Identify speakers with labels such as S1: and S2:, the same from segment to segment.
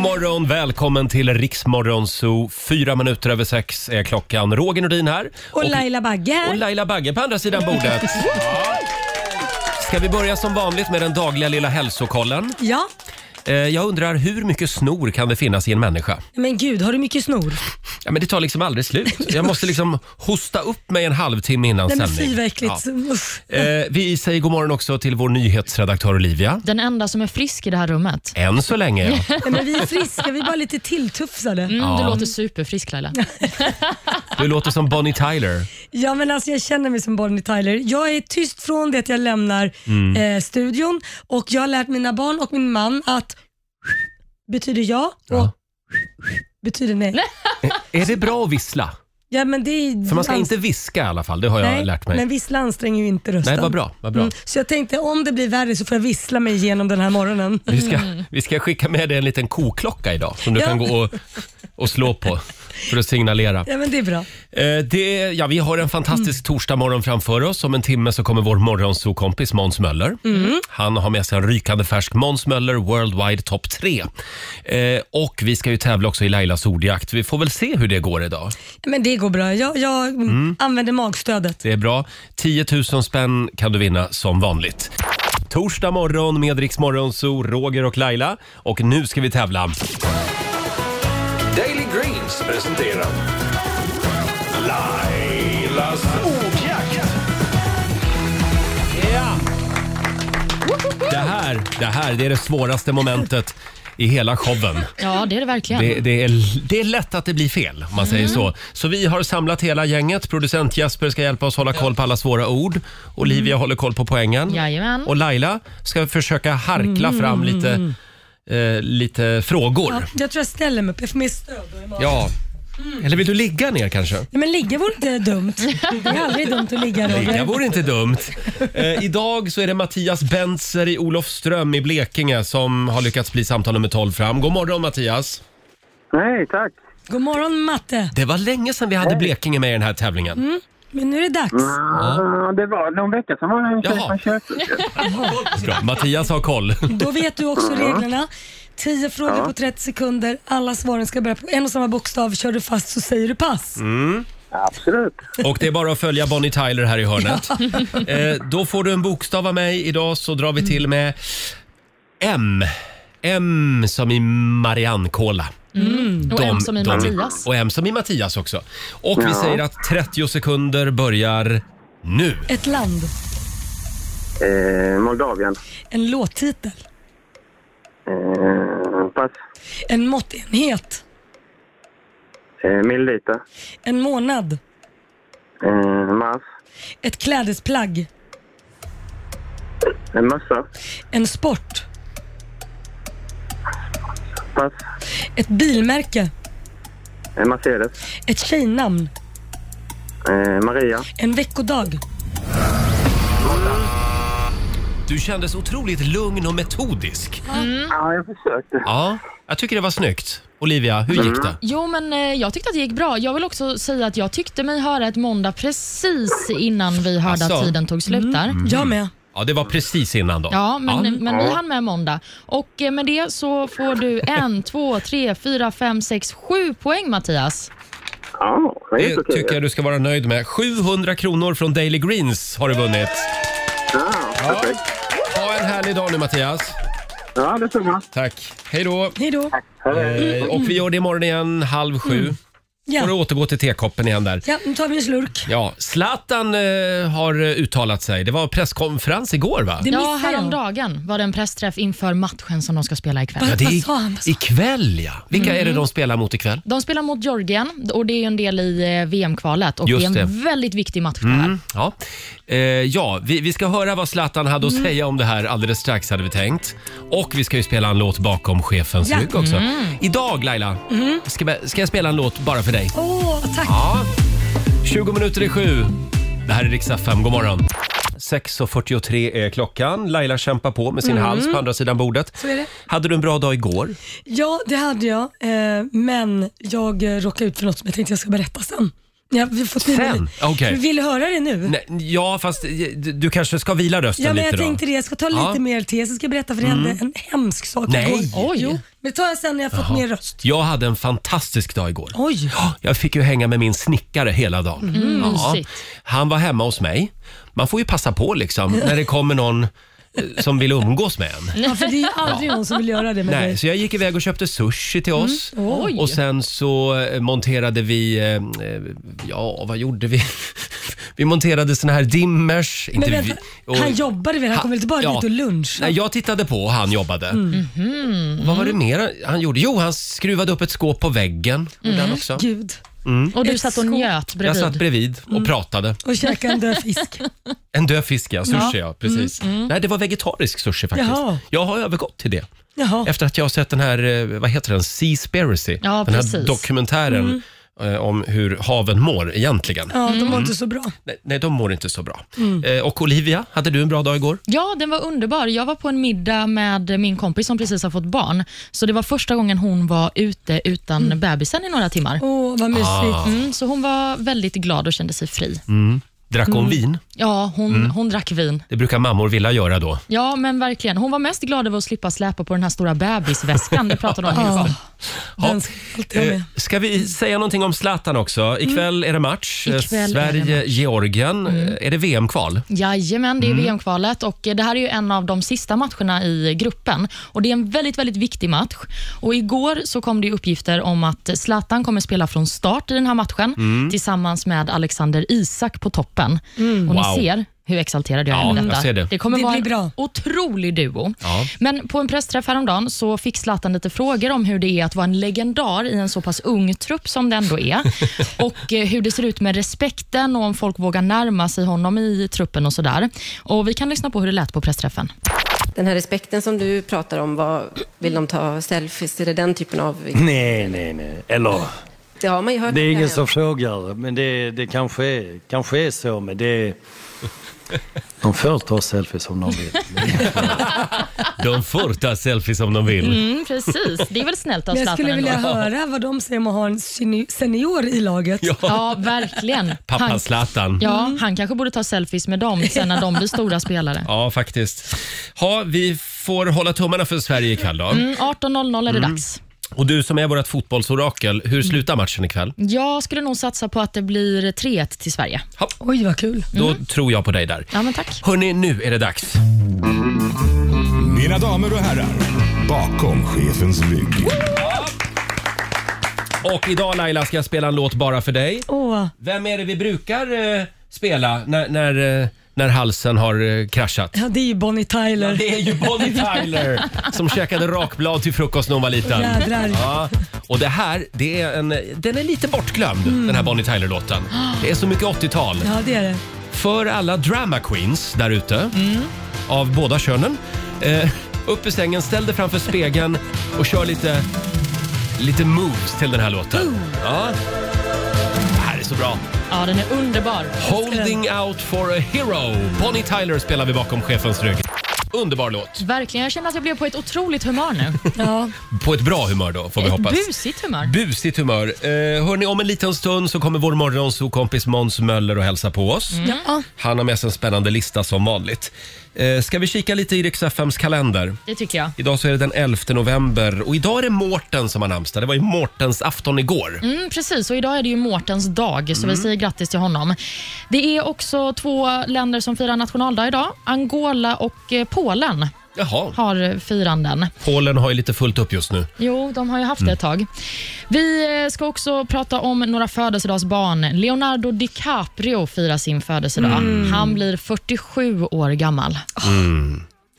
S1: morgon, välkommen till Riksmorgon Zoo. Fyra minuter över sex är klockan. Roger Nordin här.
S2: Och Laila Bagge här.
S1: Och Laila Bagge på andra sidan bordet. Ska vi börja som vanligt med den dagliga lilla hälsokollen?
S2: Ja,
S1: Eh, Jag undrar hur mycket snor kan det finnas i en människa?
S2: men gud har du mycket snor?
S1: Ja, men det tar liksom aldrig slut. Jag måste liksom hosta upp mig en halvtimme innan
S2: Nej men
S1: sändning.
S2: fy vad äckligt.
S1: Ja.
S2: Usch.
S1: Eh, Vi säger god morgon också till vår nyhetsredaktör Olivia.
S3: Den enda som är frisk i det här rummet.
S1: Än så länge ja.
S2: Nej, men vi är friska, vi är bara lite tilltufsade.
S3: Mm,
S1: Ja.
S3: Du låter superfrisk Laila.
S1: Du låter som Bonnie Tyler.
S2: Ja men alltså jag känner mig som Bonnie Tyler. Jag är tyst från det att jag lämnar
S1: Mm.
S2: eh, studion och jag har lärt mina barn och min man att betyder ja och
S1: Ja.
S2: betyder nej.
S1: Är det bra att vissla?
S2: Ja, men det är
S1: För man ska
S2: anst-
S1: inte viska i alla fall, det har jag
S2: Alltså- nej,
S1: lärt mig.
S2: Men vissla anstränger ju inte rösten.
S1: Nej, vad bra. Vad bra.
S2: Mm, så jag tänkte om det blir värre så får jag vissla mig igenom den här morgonen.
S1: Vi, ska, vi ska skicka med dig en liten koklocka idag som du
S2: Mm. Ja.
S1: kan gå och, och slå på för att signalera.
S2: Ja men det är bra.
S1: Eh, det, är- ja, vi har en
S2: Mm.
S1: fantastisk torsdagmorgon framför oss. Om en timme så kommer vår morgonsokompis Måns Möller.
S2: Mm.
S1: Han har med sig en rykande färsk Måns Möller Worldwide Top 3. Eh, och vi ska ju tävla också i Lailas ordjakt. Vi får väl se hur det går idag.
S2: Men det går bra. Jag, jag
S1: Mm.
S2: använder magstödet.
S1: Det är bra. 10 000 spänn kan du vinna som vanligt. Torsdag morgon med Rix Morgonzoo, Roger och Laila. Och nu ska vi tävla.
S4: Daily Greens presenterar Lailas ordjakt.
S1: Det här, det här det är det svåraste momentet i hela showen.
S3: Ja, Mm. det är det verkligen.
S1: Det, det, är, det är lätt att det blir fel om man säger så. Så vi har samlat hela gänget. Producent Jesper ska hjälpa oss hålla koll på alla svåra ord. Olivia håller koll på poängen.
S3: Mm. Jajamän. Mm.
S1: Och Laila ska försöka harkla fram lite, eh, lite frågor.
S2: Ja, jag tror jag ställer mig upp. Jag får mer stöd då i magen.
S1: Ja. Eller vill du ligga ner kanske?
S2: Nej, men ligga vore inte dumt. Det är aldrig dumt att ligga
S1: Ligga
S2: Roger.
S1: vore inte dumt. Eh, idag så är det Mattias Benser i Olofström i Blekinge som har lyckats bli samtal nummer 12 fram. God morgon Mattias!
S5: Nej, tack.
S2: God morgon matte.
S1: Det var länge sedan vi hade Blekinge med i den här tävlingen.
S2: Men nu är det dags.
S5: Ja, det var någon vecka sedan var det en tjej
S1: Jaha.
S5: från Köping.
S1: Bra. Mattias har koll.
S2: Då vet du också reglerna. 10 frågor på 30 sekunder. Alla svaren ska börja på en och samma bokstav. Kör du fast så säger du pass.
S1: Mm.
S5: Absolut.
S1: Och det är bara att följa Bonnie Tyler här i hörnet. Eh, då får du en bokstav av mig. Idag så drar vi
S3: Mm.
S1: till med M. M som i Marianne Kola.
S3: Mm. och
S1: De-
S3: en som i
S1: de-
S3: Mattias.
S1: Och M som i Mattias också. Och vi säger att 30 sekunder börjar nu.
S2: Ett land.
S5: Eh, Moldavien.
S2: En låttitel.
S5: Eh, pass.
S2: En måttenhet.
S5: Eh, milliliter.
S2: En månad.
S5: Eh, mars.
S2: Ett klädesplagg.
S5: En Eh, mössa.
S2: En sport.
S5: Pass.
S2: Ett bilmärke.
S5: En Mercedes.
S2: Ett tjejnamn.
S5: Eh, Maria.
S1: Mm.
S2: En veckodag.
S1: Du kändes otroligt lugn och metodisk.
S5: Ja, jag försökte.
S1: Ja, jag tycker det var snyggt. Olivia, hur gick det?
S3: Jo, men eh, jag tyckte att det gick bra. Jag vill också säga att jag tyckte mig höra ett måndag precis innan vi hörde
S1: Asså.
S3: att tiden tog slut där.
S1: Mm.
S2: Jag med.
S1: Ja, det var precis innan då.
S3: Ja, men, men vi hann med måndag. Och eh, med det så får du en, två, tre, fyra, fem, sex, sju poäng Mattias.
S5: Ja, det är
S1: Det
S5: helt okej.
S1: tycker jag du ska vara nöjd med. 700 kronor från Daily Greens har du vunnit.
S5: Ja,
S1: Ja.
S5: perfekt.
S1: Ha en härlig dag nu Mattias.
S5: Ja, detsamma.
S1: Tack. Hej då.
S2: Hej då.
S1: Eh, Och vi gör det imorgon igen halv sju. Får du
S2: Mm. Ja.
S1: återgå till tekoppen igen där.
S2: ja, nu tar vi en slurk.
S1: Ja, Zlatan eh, har uttalat sig. Det var presskonferens igår va?
S2: Det
S3: Ja,
S2: missade jag.
S3: häromdagen var det en pressträff inför matchen som de ska spela ikväll.
S1: Ja, det
S2: Vad sa han? Mm. Vad
S1: är
S2: sa
S1: ikväll ja. Vilka är det de spelar mot ikväll?
S3: De spelar mot Georgien och det är ju en del i eh, VM-kvalet och
S1: Just
S3: det är en
S1: det. Mm.
S3: väldigt viktig match det här.
S1: Ja, eh, ja vi, vi ska höra vad Zlatan hade att
S2: Mm.
S1: säga om det här alldeles strax hade vi tänkt. Och vi ska ju spela en låt bakom chefens
S2: Ja. Mm.
S1: rygg också. Idag Laila, ska, ska jag spela en låt bara för dig?
S2: Åh, tack.
S1: 20 minuter i sju. Det här är riksdag 5. God morgon. 6.43 är klockan. Laila kämpar på med sin hals på andra sidan bordet.
S2: Mm. Så är det.
S1: Hade du en bra dag igår?
S2: Ja, det hade jag. Eh, men jag eh, råkade ut för något som jag tänkte jag ska berätta sen. Ja, vi får skriva
S1: Sen?
S2: lite.
S1: Okej.
S2: Vi Vill du höra det nu?
S1: Nej, ja, fast eh, du du kanske ska vila rösten
S2: ja, men
S1: lite
S2: jag
S1: då?
S2: tänkte det. Jag ska ta
S1: Ja. Mm.
S2: lite mer te, så ska jag berätta för det hände en hemsk sak
S1: Nej.
S2: igår.
S3: Oj.
S2: Jo, Det tar jag sen när jag fått mer röst.
S1: Jag hade en fantastisk dag igår.
S2: Oj!
S1: Jag fick ju hänga med min snickare hela dagen.
S2: Mm,
S1: Ja.
S3: mysigt.
S1: Han var hemma hos mig. Man får ju passa på liksom när det kommer någon eh, som vill umgås med en.
S2: Ja, för det är ju aldrig någon som vill göra det med
S1: Nej,
S2: dig.
S1: så jag gick iväg och köpte sushi till
S2: Mm.
S1: oss.
S3: Oj.
S1: Och sen så eh, monterade vi, eh, eh, ja vad gjorde vi? Vi monterade såna här dimmers.
S2: Men
S1: Inte
S2: vänta,
S1: vi- och-
S2: han jobbade väl? Han kom väl inte bara
S1: ja.
S2: dit och Mm. lunchade?
S1: Nej, jag tittade på och han jobbade. Vad var det mer han gjorde? Jo, han skruvade upp ett skåp på väggen. Gjorde han också.
S2: Gud.
S3: Och du
S2: Ett
S3: satt och
S2: skåp.
S3: njöt
S1: Jag
S3: bredvid.
S1: satt bredvid och pratade.
S2: Och käka en död fisk.
S1: En död fisk ja, sushi ja, precis. Nej, det var vegetarisk sushi faktiskt.
S2: Jaha.
S1: Jag har övergått till det.
S2: Jaha.
S1: Efter att jag har sett den här, eh, vad heter den, Seaspiracy.
S3: Ja,
S1: den här
S3: precis. Mm.
S1: dokumentären eh, om hur haven mår egentligen.
S2: Ja, de mår inte så bra.
S1: Nej, nej, de mår inte så bra.
S3: Mm.
S1: Eh, Och Olivia, hade du en bra dag igår?
S3: Ja, den var underbar. Jag var på en middag med min kompis som precis har fått barn. Så det var första gången hon var ute utan bebisen i några timmar.
S2: Åh, vad mysigt.
S1: Ah.
S3: Mm, så hon var väldigt glad och kände sig fri.
S1: Drack
S3: Mm.
S1: hon vin?
S3: Ja, hon, hon drack vin.
S1: Det brukar mammor vilja göra då.
S3: Ja, men verkligen. Hon var mest glad över att slippa släpa på den här stora bebisväskan. Det pratade hon om.
S2: Ja.
S1: Ja.
S2: Den ska alltid vara med.
S1: Eh, Ska vi säga någonting om Zlatan också? Ikväll är det match. Eh,
S3: Mm. Ikväll är det Mm.
S1: Sverige-Georgien. Eh, Är det VM-kval?
S3: Jajamän,
S1: Mm.
S3: det är VM-kvalet och eh, det här är ju en av de sista matcherna i gruppen. Och Det är en väldigt, väldigt viktig match. Och Igår så kom det ju uppgifter om att Zlatan kommer spela från start i den här matchen
S1: Mm.
S3: tillsammans med Alexander Isak på toppen.
S1: Wow.
S3: Och Ni ser hur exalterad jag är
S1: Ja,
S3: över
S1: jag
S3: detta.
S1: ser det.
S3: kommer
S2: Det
S3: vara
S2: blir
S3: en
S2: bra.
S3: otrolig duo.
S1: Ja.
S3: Men på en pressträff häromdagen så fick Zlatan lite frågor om hur det är att vara en legendar i en så pass ung trupp som det ändå är. och eh, hur det ser ut med respekten och om folk vågar närma sig honom i truppen och sådär. Och Vi kan lyssna på hur det lät på pressträffen.
S6: Den här respekten som du pratar om, vad vill de ta selfies? Är det den typen av...
S7: Nej, nej, nej. Eller,
S6: Det har man ju hört.
S7: det är ingen som frågar, men det, det kanske, är, kanske är så, men det... De får ta selfies om de vill.
S1: De får ta selfies om de vill.
S3: Mm, precis, det är väl snällt av
S2: Men jag
S3: Zlatan
S2: skulle
S3: ändå.
S2: vilja höra vad de säger om att ha en seni- senior i laget.
S3: Ja, verkligen.
S1: Pappa
S3: Han-
S1: Zlatan. Ja.
S3: Ja, han kanske borde ta selfies med dem sen när de blir stora spelare.
S1: faktiskt. Ha, vi får hålla tummarna för Sverige ikväll då.
S3: Mm, 18.00 är det dags.
S1: Och du som är vårt fotbollsorakel, hur slutar matchen ikväll?
S3: Jag skulle nog satsa på att det blir 3-1 till Sverige.
S2: Oj, vad kul.
S1: Då tror jag på dig där.
S3: Ja, men tack.
S1: Hörni, nu är det dags.
S4: Mina damer och herrar, bakom chefens rygg.
S1: Och idag Laila ska jag spela en låt bara för dig.
S2: Åh,
S1: Vem är det vi brukar eh, spela när, när, eh, när halsen har eh, kraschat?
S2: ja, det är ju Bonnie Tyler.
S1: Det är ju Bonnie Tyler som käkade rakblad till frukost när hon var liten.
S2: Jädrar.
S1: Ja. Och det här, det är en, den är lite bortglömd, den här Bonnie Tyler-låten. Det är så mycket 80-tal.
S2: Ja, det är det.
S1: För alla drama queens där ute, av båda könen. Eh, upp ur sängen, ställ dig framför spegeln och kör lite, lite moves till den här låten. Ja. Det här är så bra.
S3: Ja, den är underbar.
S1: Holding out for a hero. Bonnie Tyler spelar vi bakom chefens rygg. Underbar låt.
S3: Verkligen. Jag känner att jag blev på ett otroligt humör nu.
S2: Ja.
S1: På ett bra humör då, får vi
S3: Ett
S1: hoppas.
S3: busigt humör.
S1: Busigt humör. Eh, hörni, om en liten stund så kommer vår morgonsokompis Måns Möller och hälsa på oss.
S2: Ja.
S1: Han har med sig en spännande lista som vanligt. Eh, ska vi kika lite i Rix FMs kalender?
S3: Det tycker jag.
S1: Idag så är det den 11 november och idag är det Mårten som har namnsdag. Det var ju Mårtens afton igår.
S3: Mm, precis, och idag är det ju Mårtens dag, så
S1: Mm.
S3: vi säger grattis till honom. Det är också två länder som firar nationaldag idag. Angola och eh, Polen
S1: Jaha.
S3: har eh, firanden.
S1: Polen har ju lite fullt upp just nu.
S3: Jo, de har ju
S1: Mm.
S3: haft det ett tag. Vi eh, ska också prata om några födelsedagsbarn. Leonardo DiCaprio firar sin födelsedag.
S1: Mm.
S3: Han blir 47 år gammal.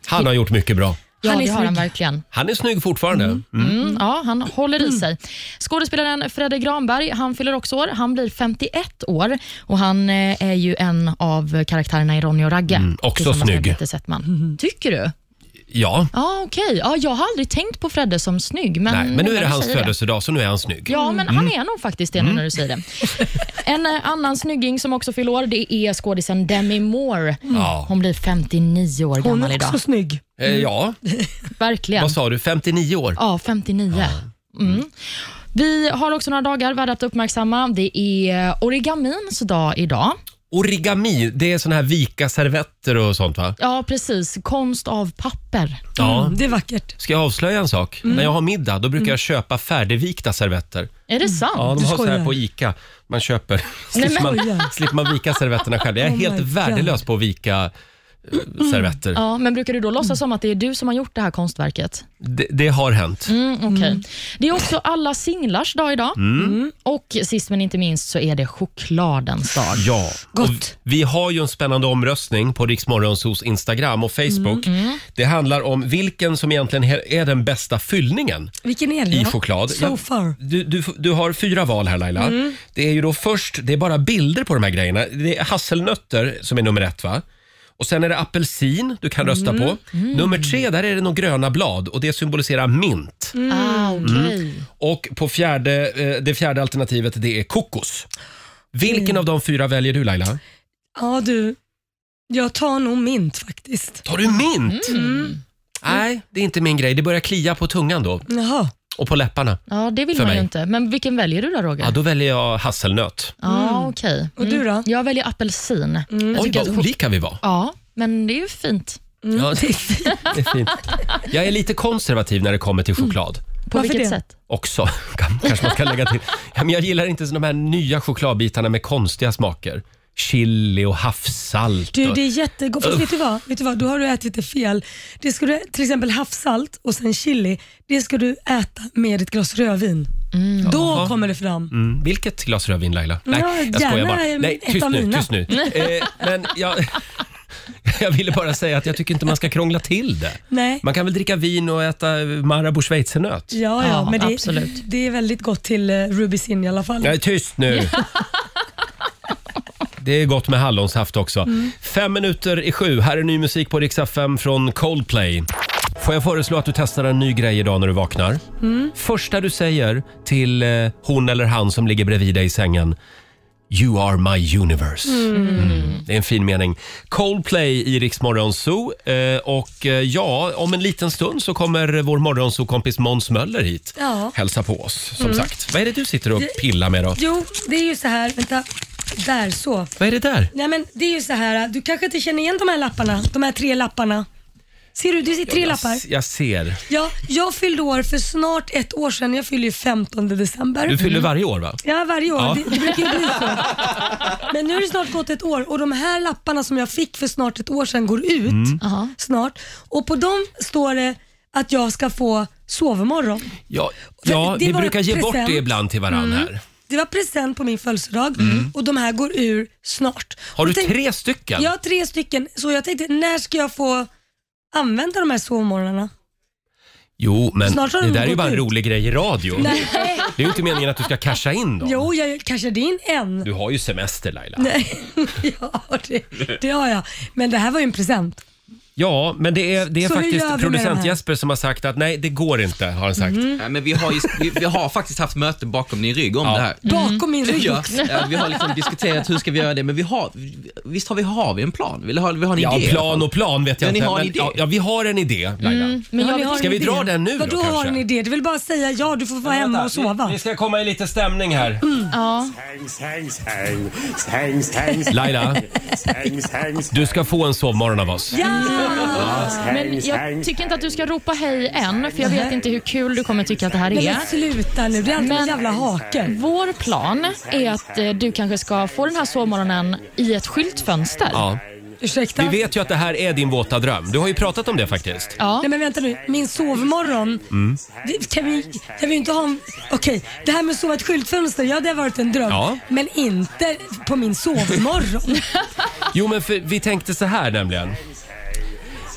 S1: Han har gjort mycket bra.
S3: Ja,
S2: Han är
S3: det har han
S2: snygg.
S3: verkligen.
S1: Han är snygg fortfarande.
S3: Mm, ja, han håller i sig. Skådespelaren Fredde Granberg han fyller också år. Han blir 51 år och han eh, är ju en av karaktärerna i Ronny och Ragge.
S1: Mm, också
S3: tillsammans med
S1: snygg.
S3: Peter
S2: Mhm.
S3: Settman. Tycker du?
S1: Ja.
S3: Ja, okej. Ja, jag har aldrig tänkt på Fredde som snygg. Men,
S1: Nej, men nu
S3: många
S1: är det hans
S3: säger
S1: födelsedag Mm. så nu är han snygg.
S3: Ja, men han är nog faktiskt det nu när du säger det. En eh, annan snygging som också fyller år, det är skådisen Demi Moore.
S1: Ja.
S3: Hon blir 59 år
S2: Hon
S3: gammal
S2: är
S3: idag.
S2: också snygg.
S1: Eh, ja.
S3: Verkligen.
S1: Vad sa du? 59 år?
S3: Ja, 59. Mm. Vi har också några dagar värda att uppmärksamma. Det är origamins dag idag.
S1: Origami, det är såna här vika servetter och sånt va?
S3: Ja, precis. Konst av papper.
S1: Ja.
S2: Mm, det är vackert.
S1: Ska jag avslöja en sak? När jag har middag då brukar jag köpa färdigvikta servetter.
S3: Är det sant?
S1: Mm. Ja, de
S2: Du
S1: har så här
S2: skojar.
S1: på ICA. Man köper,
S3: Nej,
S1: slipper, man,
S2: skojar.
S1: slipper man vika servetterna själv. Jag är
S2: Oh
S1: helt
S2: my God.
S1: värdelös på att vika eh, servetter.
S3: Ja, men brukar du då låtsas som att det är du som har gjort det här konstverket?
S1: Det, det har hänt.
S3: Mm, okej. Det är också alla singlars dag idag.
S1: Mm.
S3: Mm. Och sist men inte minst så är det chokladens dag.
S1: Ja.
S2: Gott.
S1: Och vi har ju en spännande omröstning på Riksmorgonsos Instagram och Facebook. Det handlar om vilken som egentligen he- är den bästa fyllningen
S2: Vilken är det?
S1: i
S2: då?
S1: choklad.
S2: So
S1: Jag-
S2: far.
S1: Du, du, du har fyra val här Laila.
S3: Mm.
S1: Det är ju då först, det är bara bilder på de här grejerna. Det är hasselnötter som är nummer ett va? Och sen är det apelsin du kan
S3: Mm.
S1: rösta på. Nummer tre, där är det några gröna blad och det symboliserar mint.
S2: Mm.
S3: Ah, okej.
S1: Och på fjärde, eh, det fjärde alternativet, det är kokos. Vilken
S3: Mm.
S1: av de fyra väljer du Laila?
S2: Ja du, jag tar nog mint faktiskt.
S1: Tar du mint?
S3: Mm.
S1: Nej, det är inte min grej. Det börjar klia på tungan då
S2: Jaha.
S1: och på läpparna.
S3: Ja, det vill
S1: För
S3: man ju
S1: mig.
S3: inte. Men vilken väljer du då, Roger?
S1: Ja, då väljer jag hasselnöt.
S3: Ja, okej.
S2: Mm.
S3: Mm.
S2: Och du då?
S3: Jag väljer apelsin.
S1: Oj,
S3: Jag tycker
S1: vad
S3: att Mm. chok-
S1: olika vi var.
S3: ja, men det är ju fint.
S1: Ja, det, är fint. det är fint. Jag är lite konservativ när det kommer till choklad.
S3: På
S2: Varför
S3: vilket
S2: det?
S3: sätt?
S1: Också, kan- kanske man ska lägga till. Ja, men jag gillar inte de här nya chokladbitarna med konstiga smaker. Chili och havssalt.
S2: Du,
S1: och-
S2: det är jättegott. Fast vet du, vad? vet du vad? Då har du ätit det fel. Det ska du, till exempel havssalt och sen chili, det ska du äta med ett glas rödvin. Då kommer det fram.
S1: Mm, vilket glas rödvin Laila? Nej,
S2: Ja,
S1: jag skojar
S2: gärna
S1: bara.
S2: en-
S1: Nej,
S2: ett
S1: tyst
S2: av
S1: nu,
S2: mina.
S1: tyst nu. Eh, men jag, jag ville bara säga att jag tycker inte man ska krångla till det.
S2: Nej.
S1: Man kan väl dricka vin och äta Marabou schweizernöt?
S2: Ja, ja,
S3: Ja,
S2: men det,
S3: absolut.
S2: det är väldigt gott till eh, Rubisin i alla fall.
S1: Nej, tyst nu. Det är gott med hallonsaft också. Fem minuter i sju. Här är ny musik på Rix FM från Coldplay. Får jag föreslå att du testar en ny grej idag när du vaknar? Första du säger till eh, hon eller han som ligger bredvid dig i sängen. You are my universe. Mm. Det är en fin mening. Coldplay i Rix Morgon Zoo. Eh, och eh, ja, om en liten stund så kommer vår morgonzoo-kompis Måns Möller hit.
S2: Ja.
S1: Hälsa på oss, som
S2: Mm.
S1: sagt. Vad är det du sitter och pillar med då?
S2: Jo, det är ju så här, vänta. Där så.
S1: Vad är det där?
S2: Nej men det är ju så här, du kanske inte känner igen de här lapparna, de här tre lapparna. Ser du, det är tre
S1: Jag,
S2: lappar.
S1: s- jag ser.
S2: Ja, jag fyllde år för snart ett år sedan, jag fyller ju 15 december.
S1: Du fyller varje år va?
S2: Ja, varje år.
S1: Ja.
S2: Det, det brukar ju bli så. Men nu är det snart gått ett år och de här lapparna som jag fick för snart ett år sedan går ut
S1: Mm.
S3: Jaha.
S2: snart. Och på dem står det att jag ska få sovmorgon.
S1: Ja,
S2: Det-
S1: ja
S2: det
S1: vi
S2: var
S1: brukar ge
S2: present. Mm.
S1: bort det ibland till varandra här.
S2: Det var present på min födelsedag och de här går ur snart.
S1: Mm. Har du
S2: Och tänk-
S1: tre stycken?
S2: Jag har tre stycken, så jag tänkte när ska jag få använda de här sovmorgnarna?
S1: Jo, men
S2: Snart har
S1: det
S2: de
S1: där är ju
S2: gått
S1: bara en
S2: ut.
S1: rolig grej i radio.
S2: Nej.
S1: Det är ju inte meningen att du ska casha in dem.
S2: Jo, jag kanske det är in en.
S1: Du har ju semester Laila.
S2: Nej, ja, det, det har jag. Men det här var ju en present.
S1: Ja, men det är, det är
S2: Så hur gör vi
S1: faktiskt
S2: med
S1: producent
S2: de här? Mm.
S1: Jesper som har sagt att nej, det går inte, har han sagt.
S8: Nej, men vi har, ju, vi, vi har faktiskt haft möte bakom din rygg om det här.
S2: Bakom min rygg
S8: Ja,
S2: också.
S8: ja, vi har liksom diskuterat hur ska vi göra det, men vi har, visst har vi, har vi en plan? Vi har, vi har en
S1: Ja,
S8: idé.
S1: plan och plan vet jag
S8: Men ni
S1: inte.
S8: har en idé.
S1: ja, ja, vi har en idé Laila.
S3: Men jag
S2: ni
S3: vill,
S2: har
S1: Ska
S2: en
S1: vi
S2: idé.
S1: dra den nu då,
S2: Vadå har
S1: kanske?
S2: en idé? Du vill bara säga ja, du får vara hemma och sova.
S1: Vi, vi ska komma i lite stämning här.
S3: ja.
S1: Laila, du ska få en sovmorgon av oss.
S2: Ja!
S3: Men jag tycker inte att du ska ropa hej än, för jag vet inte hur kul du kommer tycka att det här
S2: Nej,
S3: är.
S2: men sluta nu, det är alltid
S3: Men-
S2: en jävla hake.
S3: Vår plan är att eh, du kanske ska få den här sovmorgonen i ett skyltfönster.
S1: Ja.
S2: Ursäkta?
S1: Vi vet ju att det här är din våta dröm. Du har ju pratat om det faktiskt.
S3: Ja.
S2: Nej men vänta nu, min sovmorgon.
S1: Mm.
S2: Vi- Kan, vi, kan vi inte ha en... Okej, det här med att sova i ett skyltfönster, ja det har varit en dröm.
S1: Ja.
S2: Men inte på min sovmorgon.
S1: Jo, men för, vi tänkte så här nämligen.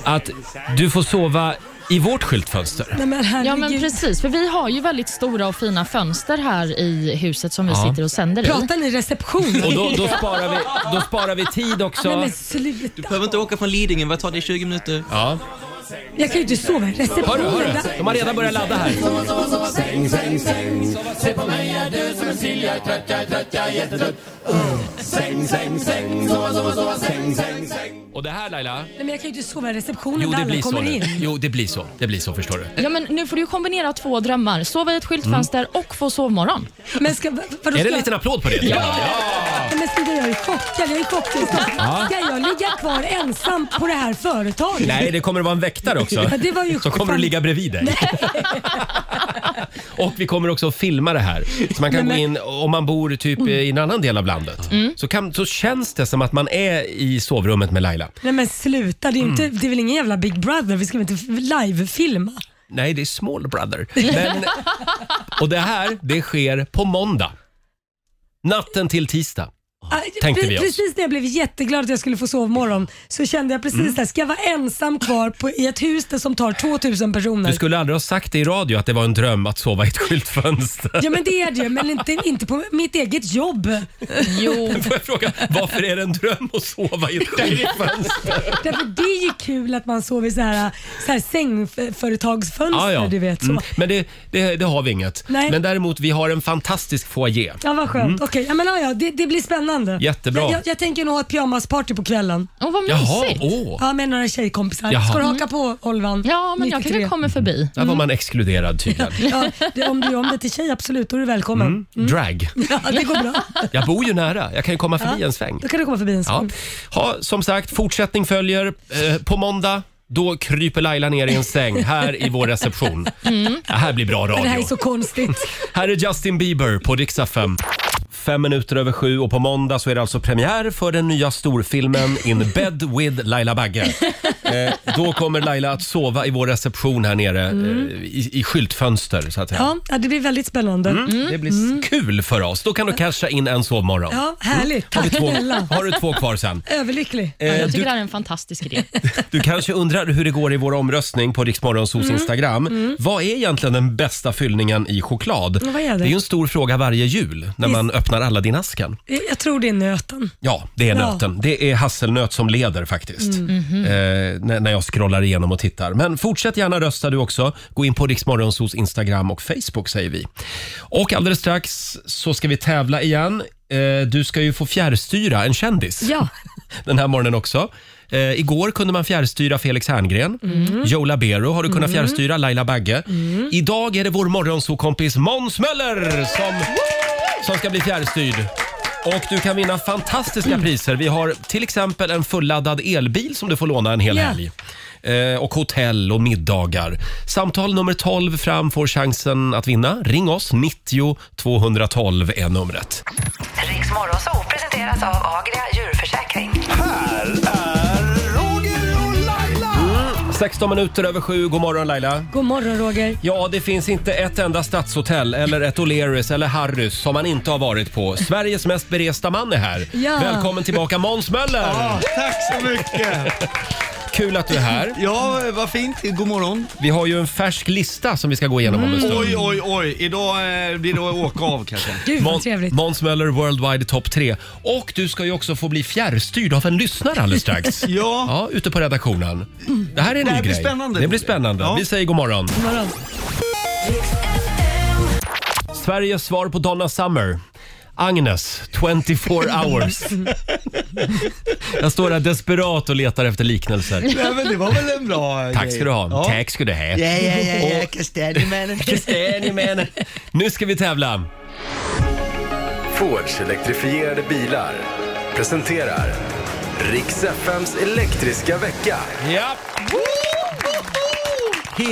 S1: Att du får sova i vårt skyltfönster.
S2: Nej men herregud.
S3: Ja men precis, för vi har ju väldigt stora och fina fönster här i huset som vi sitter och sänder i.
S2: Pratar ni reception?
S1: Och då, då, sparar vi, då sparar vi tid
S2: Nej
S1: också.
S2: men sluta.
S8: Behöver inte åka från Lidingö, vad tar det 20 minuter?
S1: Ja.
S2: Jag kan ju inte sova i
S1: Hörru,
S2: receptionen.
S1: hörru. De har redan börjat ladda här. Och det här Laila,
S2: Nej men jag kan ju inte sova i receptionen
S1: jo
S2: där
S1: det
S2: alla
S1: blir så
S2: kommer
S1: nu.
S2: in.
S1: Jo det blir så, det blir så förstår du.
S3: Ja, men nu får du ju kombinera två
S1: Mm.
S3: drömmar. Sova i ett skyltfönster och få sovmorgon.
S2: Men ska, vadå,
S1: Är det
S2: ska,
S1: en liten applåd på det? Ja!
S2: Nej, men Stig, jag är chockad. Jag är chockad. Ska jag ligga kvar ensam på det här företaget?
S1: Nej, det kommer att vara en väktare också.
S2: Ja, det var ju
S1: Så kommer du
S2: fan-
S1: ligga bredvid dig. och vi kommer också att filma det här. Så man kan gå in, om man bor typ
S2: Mm.
S1: i en annan del av landet, så, kan, så känns det som att man är i sovrummet med Laila.
S2: Nej men sluta, det är, ju inte, det är väl ingen jävla Big Brother? Vi ska väl inte live-filma?
S1: Nej, det är Small Brother. Men, och det här, det sker på måndag. Natten till tisdag.
S2: Ah,
S1: Tänkte
S2: pre-
S1: vi oss.
S2: precis när jag blev jätteglad att jag skulle få sovmorgon så kände jag precis
S1: Mm.
S2: det här, ska jag vara ensam kvar på, i ett hus där som tar 2000 personer?
S1: Du skulle aldrig ha sagt det i radio att det var en dröm att sova i ett skyltfönster.
S2: Ja men det är det ju, men inte, inte på mitt eget jobb.
S3: Jo,
S1: Får jag fråga, varför är det en dröm att sova i ett skyltfönster?
S2: Därför det är ju kul att man sover i så här, så här sängföretagsfönster,
S1: Ja, ja.
S2: du vet. Så.
S1: Mm. Men det, det, det har vi inget.
S2: Nej.
S1: Men däremot, vi har en fantastisk foyer.
S2: Ja, vad skönt. Okej, ja, men ah, ja, ja, det, det blir spännande.
S1: Mm. Jättebra.
S2: Jag, jag, jag tänker nog ha ett pyjamasparty på kvällen.
S3: och vad
S1: Jaha,
S3: mysigt.
S1: åh.
S2: Ja, med några tjejkompisar.
S1: Jaha. Mm.
S2: Ska du haka på Olvan?
S3: Ja, men jag
S2: 93?
S3: kanske kommer förbi.
S1: Där
S2: mm.
S1: var man exkluderad tydligen.
S2: Ja, det, om du gör om det till tjej, absolut, då är du välkommen.
S1: Mm. Drag.
S2: Ja, det går bra.
S1: Jag bor ju nära. Jag kan ju komma förbi en sväng.
S2: Då kan du komma förbi en
S1: Ja.
S2: sväng.
S1: Ha, som sagt, fortsättning följer. Eh, på måndag då kryper Laila ner i en säng här i vår reception. Det här blir bra radio.
S2: Mm. Det här är så konstigt.
S1: Här är Justin Bieber på Dixa 5. Fem minuter över sju och på måndag så är det alltså premiär för den nya storfilmen In bed with Laila Bagge. Eh, då kommer Laila att sova i vår reception här nere eh, i, i skyltfönster så att säga.
S2: Ja, ja, det blir väldigt spännande.
S1: Det blir kul för oss. Då kan du casha in en sovmorgon.
S2: Mm. Ja, härligt.
S1: Har, du
S2: Tack
S1: två,
S2: snälla.
S1: har du två kvar sen.
S2: Överlycklig. Eh,
S3: Ja, jag tycker
S1: eh, du-
S3: det här är en fantastisk idé.
S1: Du kanske undrar hur det går i vår omröstning på Riksmorgonsos
S2: Mm.
S1: Instagram. Vad är egentligen den bästa fyllningen i choklad?
S2: Ja, vad är det?
S1: är ju en stor fråga varje jul när man öppnar alla din asken.
S2: Jag jag tror det är nöten.
S1: Ja, det är
S2: Ja. Mm. Mhm.
S1: nöten. Det är hasselnöt som leder faktiskt. Eh, när, när jag scrollar igenom och tittar. Men fortsätt gärna rösta du också. Gå in på Riksmorgonsos Instagram och Facebook säger vi. Och alldeles strax så ska vi tävla igen. Eh, du ska ju få fjärrstyra en kändis
S2: Ja.
S1: den här morgonen också. Eh, igår kunde man fjärrstyra Felix Herngren. Joe Labero har du kunnat fjärrstyra, Laila Bagge. Idag är det vår morgonsokompis Måns Möller som, som ska bli fjärrstyrd. Och du kan vinna fantastiska priser. Vi har till exempel en fulladdad elbil som du får låna en hel
S2: Ja.
S1: helg. Eh, och hotell och middagar. Samtal nummer 12 fram får chansen att vinna. Ring oss, 90 212 är numret.
S9: Riks Morgonzoo presenteras av Agria djurförsäkring.
S4: Här är Roger och Laila!
S1: 16 minuter över sju. God morgon Laila.
S2: God morgon Roger.
S1: Ja, det finns inte ett enda stadshotell eller ett O'Learys eller Harrys som man inte har varit på. Sveriges mest beresta man är här.
S2: Ja.
S1: Välkommen tillbaka Måns Möller!
S10: Tack så mycket!
S1: Kul att du är här.
S10: Ja, vad fint. God morgon.
S1: Vi har ju en färsk lista som vi ska gå igenom om en stund.
S10: Mm. Oj, oj, oj. Idag eh, blir det att åka av kanske.
S2: Gud vad
S1: Mån-
S2: trevligt.
S1: Måns Möller Worldwide Top 3. Och du ska ju också få bli fjärrstyrd av en lyssnare alldeles strax.
S10: Ja.
S1: Ja, ute på redaktionen. Det här är en
S10: Det här
S1: ny
S10: blir
S1: grej.
S10: spännande.
S1: Det blir spännande.
S10: Ja.
S1: Vi säger god morgon.
S2: God morgon.
S1: Sveriges svar på Donna Summer. Agnes, 24 hours. Jag står här desperat och letar efter liknelser.
S10: Nej, men det var väl en bra
S1: Tack ska du ha.
S10: Ja.
S1: Tack ska du ha.
S10: Ja, ja, ja, ja. Kastanjemannen.
S1: Nu ska vi tävla.
S11: Fords elektrifierade bilar presenterar Riks FMs elektriska vecka.
S1: Ja.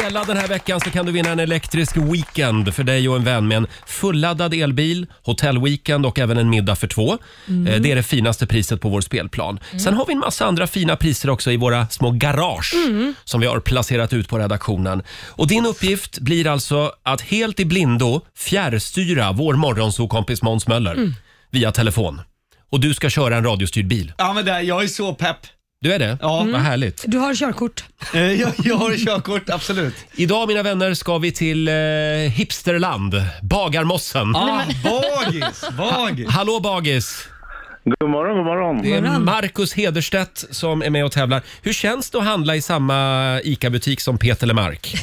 S1: Hela den här veckan så kan du vinna en elektrisk weekend för dig och en vän med en fulladdad elbil, hotellweekend och även en middag för två. Eh, Det är det finaste priset på vår spelplan. Sen har vi en massa andra fina priser också i våra små garage som vi har placerat ut på redaktionen. Och din uppgift blir alltså att helt i blindo fjärrstyra vår morgonsokompis Måns Möller via telefon. Och du ska köra en radiostyrd bil.
S10: Ja, men där, jag är så pepp.
S1: Du är det?
S10: Ja.
S1: Vad härligt.
S2: Du har körkort.
S10: Eh, Jag, jag har körkort, absolut.
S1: Idag mina vänner ska vi till eh, hipsterland, Bagarmossen.
S10: Ah, bagis, bagis.
S1: Hallå bagis!
S5: God morgon, god morgon.
S1: Det är
S2: morgon.
S1: Marcus Hederstedt som är med och tävlar. Hur känns det att handla i samma ICA-butik som Peter Lemark?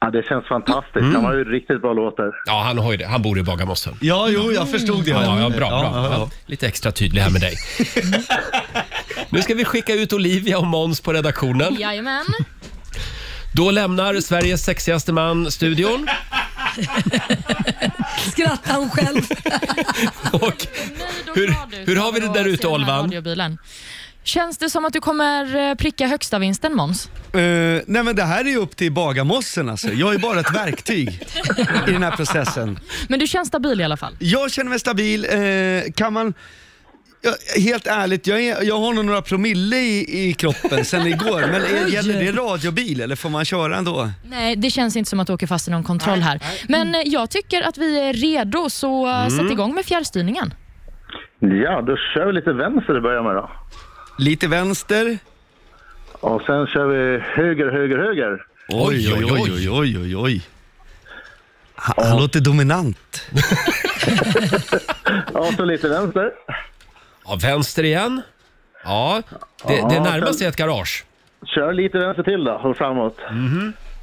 S5: Ja, det känns fantastiskt.
S1: Mm.
S5: Han har ju riktigt bra låtar.
S1: Ja, han, har ju det. han bor i Bagarmossen.
S10: Ja, jo, jag förstod det.
S1: Ja, ja, bra, bra.
S10: ja, ja.
S1: Ja, Lite extra tydlig här med dig. nu ska vi skicka ut Olivia och Måns på redaktionen.
S3: Jajamän.
S1: Då lämnar Sveriges sexigaste man studion.
S2: Skrattar hon själv?
S1: Och
S3: Nej då.
S1: Hur,
S3: glad ut
S1: hur har vi
S3: över
S1: det där
S3: att
S1: ute,
S3: se den här
S1: Olvan?
S3: radiobilen. Känns det som att du kommer eh, pricka högsta vinsten Måns?
S10: Eh, nej men det här är ju upp till bagarmossen alltså. Jag är bara ett verktyg i den här processen.
S3: Men du känns stabil i alla fall?
S10: Jag känner mig stabil. Eh, kan man... Ja, helt ärligt, jag, är, jag har nog några promille i, i kroppen sen igår. Men är,
S3: Oj.
S10: gäller det radiobil eller får man köra ändå?
S3: Nej, det känns inte som att du åker fast i någon kontroll här. Men eh, jag tycker att vi är redo, så eh,
S5: Mm.
S3: sätt igång med fjärrstyrningen.
S5: Ja, då kör vi lite vänster i början med då.
S10: Lite vänster.
S5: Och sen kör vi höger, höger, höger.
S10: Oj, oj, oj, oj, oj, oj. oj. Han, han låter dominant.
S5: Ja, så lite vänster.
S1: Ja, vänster igen. Ja, det, det
S5: Ja,
S1: närmaste
S5: sen-
S1: är ett garage.
S5: Kör lite vänster till då, och framåt.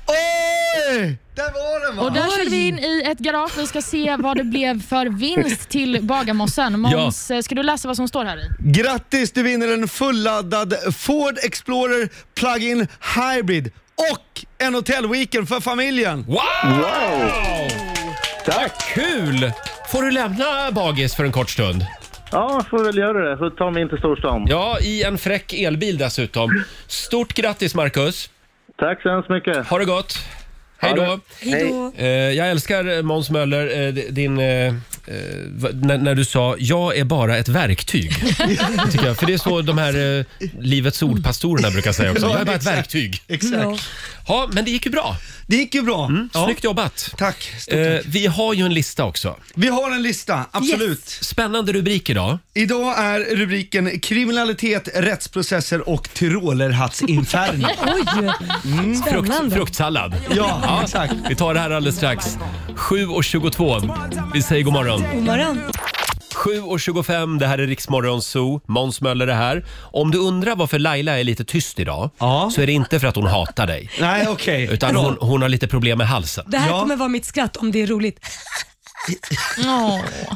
S10: Oj! Där var den va?
S3: Och där körde vi in i ett garage. Vi ska se vad det blev för vinst till Bagarmossen. Måns, eh, ska du läsa vad som står här i?
S10: Grattis, du vinner en fulladdad Ford Explorer Plug-in Hybrid och en hotellweekend för familjen.
S1: Wow! Tack! Kul! Får du lämna bagis för en kort stund?
S5: Ja, får väl göra det. Så tar mig in till storstan.
S1: Ja, i en fräck elbil dessutom. Stort grattis Marcus!
S5: Tack så hemskt mycket!
S1: Ha det gott! Hej
S5: Ha
S1: då!
S5: det. Hej då.
S1: Eh, jag älskar eh, Måns Möller, eh, d- din... Eh, eh, va- när, när du sa “jag är bara ett verktyg”. tycker jag. För det är så de här eh, Livets Ord-pastorerna brukar säga också.
S10: Ja,
S1: “Jag är bara ett
S10: exakt,
S1: verktyg”.
S10: exakt. Ja.
S1: Ja, men det gick ju bra.
S10: Det gick ju bra.
S1: Mm,
S10: Ja.
S1: Snyggt jobbat.
S10: Tack.
S1: Eh, vi har ju en lista också.
S10: Vi har en lista, absolut.
S1: Spännande rubrik idag.
S10: Idag är rubriken kriminalitet, rättsprocesser och tyrolerhattsinferno.
S2: Oj!
S1: Frukt,
S2: Mm, Spännande.
S1: fruktsallad.
S10: Ja, exakt.
S1: Vi tar det här alldeles strax. 7.22. Vi säger god morgon.
S2: God morgon.
S1: 7.25, det här är Riksmorgon Zoo. Måns Möller är här. Om du undrar varför Laila är lite tyst idag så är det inte för att hon hatar dig.
S10: Nej, okej.
S1: Utan
S10: Bra.
S1: hon, hon har lite problem med halsen.
S2: Det här kommer vara mitt skratt om det är roligt.